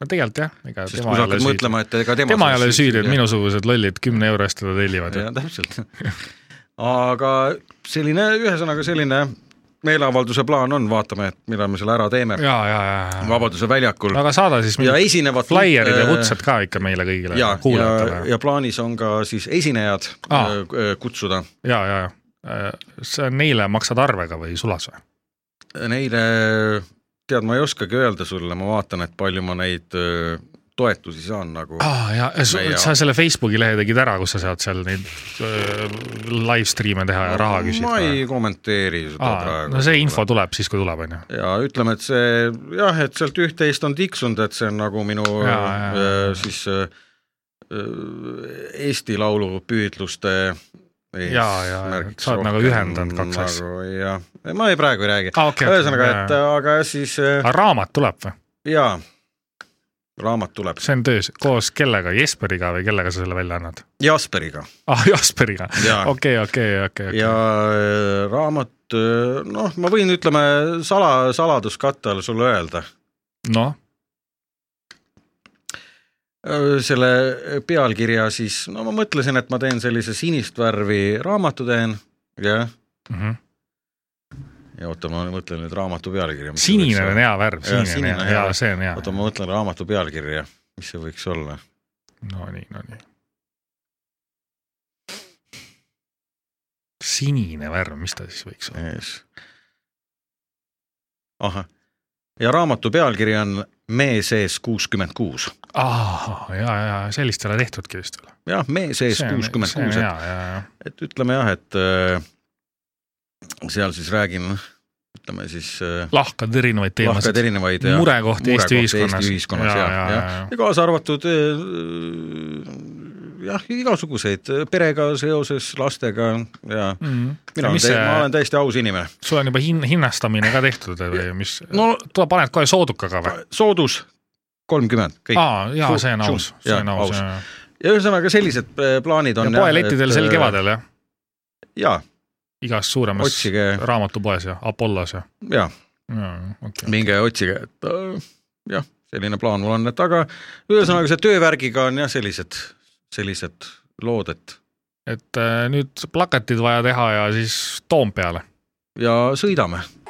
Speaker 5: no tegelikult jah , ega
Speaker 4: sest kui
Speaker 5: tema ei
Speaker 4: sa
Speaker 5: ole
Speaker 4: hakkad
Speaker 5: süüdi .
Speaker 4: mõtlema , et ega tema
Speaker 5: tema ei ole süüdi , et . minusugused lollid kümne euro eest teda tellivad .
Speaker 4: jah , täpselt . aga selline , ühesõnaga selline meeleavalduse plaan on , vaatame , et millal me selle ära teeme .
Speaker 5: ja , ja , ja ,
Speaker 4: Vabaduse väljakul
Speaker 5: aga saada siis
Speaker 4: ja
Speaker 5: mingid
Speaker 4: esinevad
Speaker 5: flaierid ja
Speaker 4: äh,
Speaker 5: kutsed ka ikka meile kõigile
Speaker 4: ja , ja ,
Speaker 5: kuulajatele .
Speaker 4: ja plaanis on ka siis esinejad
Speaker 5: Aa.
Speaker 4: äh, k- kutsuda ,
Speaker 5: ja , ja , ja , Äh, see on neile maksad arvega või sulas või ?
Speaker 4: neile , tead , ma ei oskagi öelda sulle , ma vaatan , et palju ma neid äh, toetusi saan nagu ah.
Speaker 5: aa ja ,
Speaker 4: Meie-
Speaker 5: sa selle Facebooki lehe tegid ära , kus sa saad seal neid öö, live stream'e teha ja raha küsida
Speaker 4: ma ? ei kommenteeri seda ah,
Speaker 5: aa ,
Speaker 4: praegu .
Speaker 5: no see info . tuleb siis , kui tuleb , onju .
Speaker 4: ja ütleme , et see jah , et sealt üht-teist on tiksunud , et see on nagu minu
Speaker 5: Jaa, jaa, jaa.
Speaker 4: äh, siis äh, äh, Eesti Laulu püüdluste
Speaker 5: Jaa, jaa, sa oled nagu ühendanud kaks
Speaker 4: asja . jah , ma ei praegu ei räägi
Speaker 5: Aa, okei, okei,
Speaker 4: ühesõnaga ,
Speaker 5: jaa.
Speaker 4: et aga siis äh,
Speaker 5: aga raamat tuleb või ?
Speaker 4: jaa , raamat tuleb
Speaker 5: see on töös , koos kellega , Jesperiga või kellega sa selle välja annad ?
Speaker 4: Jasperiga
Speaker 5: ah , Jasperiga ,
Speaker 4: Jaa.
Speaker 5: okei , okei , okei .
Speaker 4: ja äh, raamat , noh , ma võin , ütleme sala , saladuskatte all sulle öelda ,
Speaker 5: noh ,
Speaker 4: selle pealkirja siis , no ma mõtlesin , et ma teen sellise sinist värvi raamatu teen , jah ,
Speaker 5: mhm.
Speaker 4: ja oota , ma mõtlen nüüd raamatu pealkirja .
Speaker 5: sinine on hea värv ,
Speaker 4: Jaa,
Speaker 5: sinine on hea , jaa , see on hea .
Speaker 4: oota , ma mõtlen raamatu pealkirja , mis see võiks olla
Speaker 5: Nonii , nonii . sinine värv , mis ta siis võiks olla ?
Speaker 4: ees . ahah , ja raamatu pealkiri on Mee sees kuuskümmend kuus ,
Speaker 5: aa , ja , ja sellist ei ole tehtudki vist veel .
Speaker 4: jah , Mee sees kuuskümmend kuus , et
Speaker 5: ja , ja , ja .
Speaker 4: et ütleme jah , et äh, seal siis räägin , ütleme siis äh,
Speaker 5: lahkad erinevaid
Speaker 4: lahkad
Speaker 5: teemasid .
Speaker 4: erinevaid
Speaker 5: murekohti Eesti ühiskonnas.
Speaker 4: Eesti ühiskonnas
Speaker 5: Jaa,
Speaker 4: ja ,
Speaker 5: jaa,
Speaker 4: ja,
Speaker 5: jaa,
Speaker 4: ja.
Speaker 5: jaa.
Speaker 4: ja kaasa arvatud äh, jah , igasuguseid äh, perega seoses , lastega ja mina olen,
Speaker 5: mis
Speaker 4: see...
Speaker 5: see
Speaker 4: Mm. ma , olen täiesti aus inimene .
Speaker 5: sul on juba hin- , hinnastamine ka tehtud või mis no,
Speaker 4: No- ,
Speaker 5: tuleb , paned kohe soodukaga või ?
Speaker 4: soodus kolmkümmend , kõik .
Speaker 5: aa , jaa , see on
Speaker 4: Suur-
Speaker 5: aus ,
Speaker 4: suur-
Speaker 5: see on
Speaker 4: jaa,
Speaker 5: aus .
Speaker 4: aus.
Speaker 5: ja
Speaker 4: ja ühesõnaga sellised äh, plaanid on . äh,
Speaker 5: poelettidel sel . kevadel jah ,
Speaker 4: jaa ,
Speaker 5: igas suuremas
Speaker 4: otsige-
Speaker 5: raamatupoes ja Apollos ja ,
Speaker 4: jaa ,
Speaker 5: ja , okei .
Speaker 4: minge otsige , et äh, jah , selline plaan mul on , et aga ühesõnaga see töövärgiga on jah , sellised , sellised lood , et
Speaker 5: et äh, nüüd plakatid vaja teha ja siis Toompeale .
Speaker 4: ja sõidame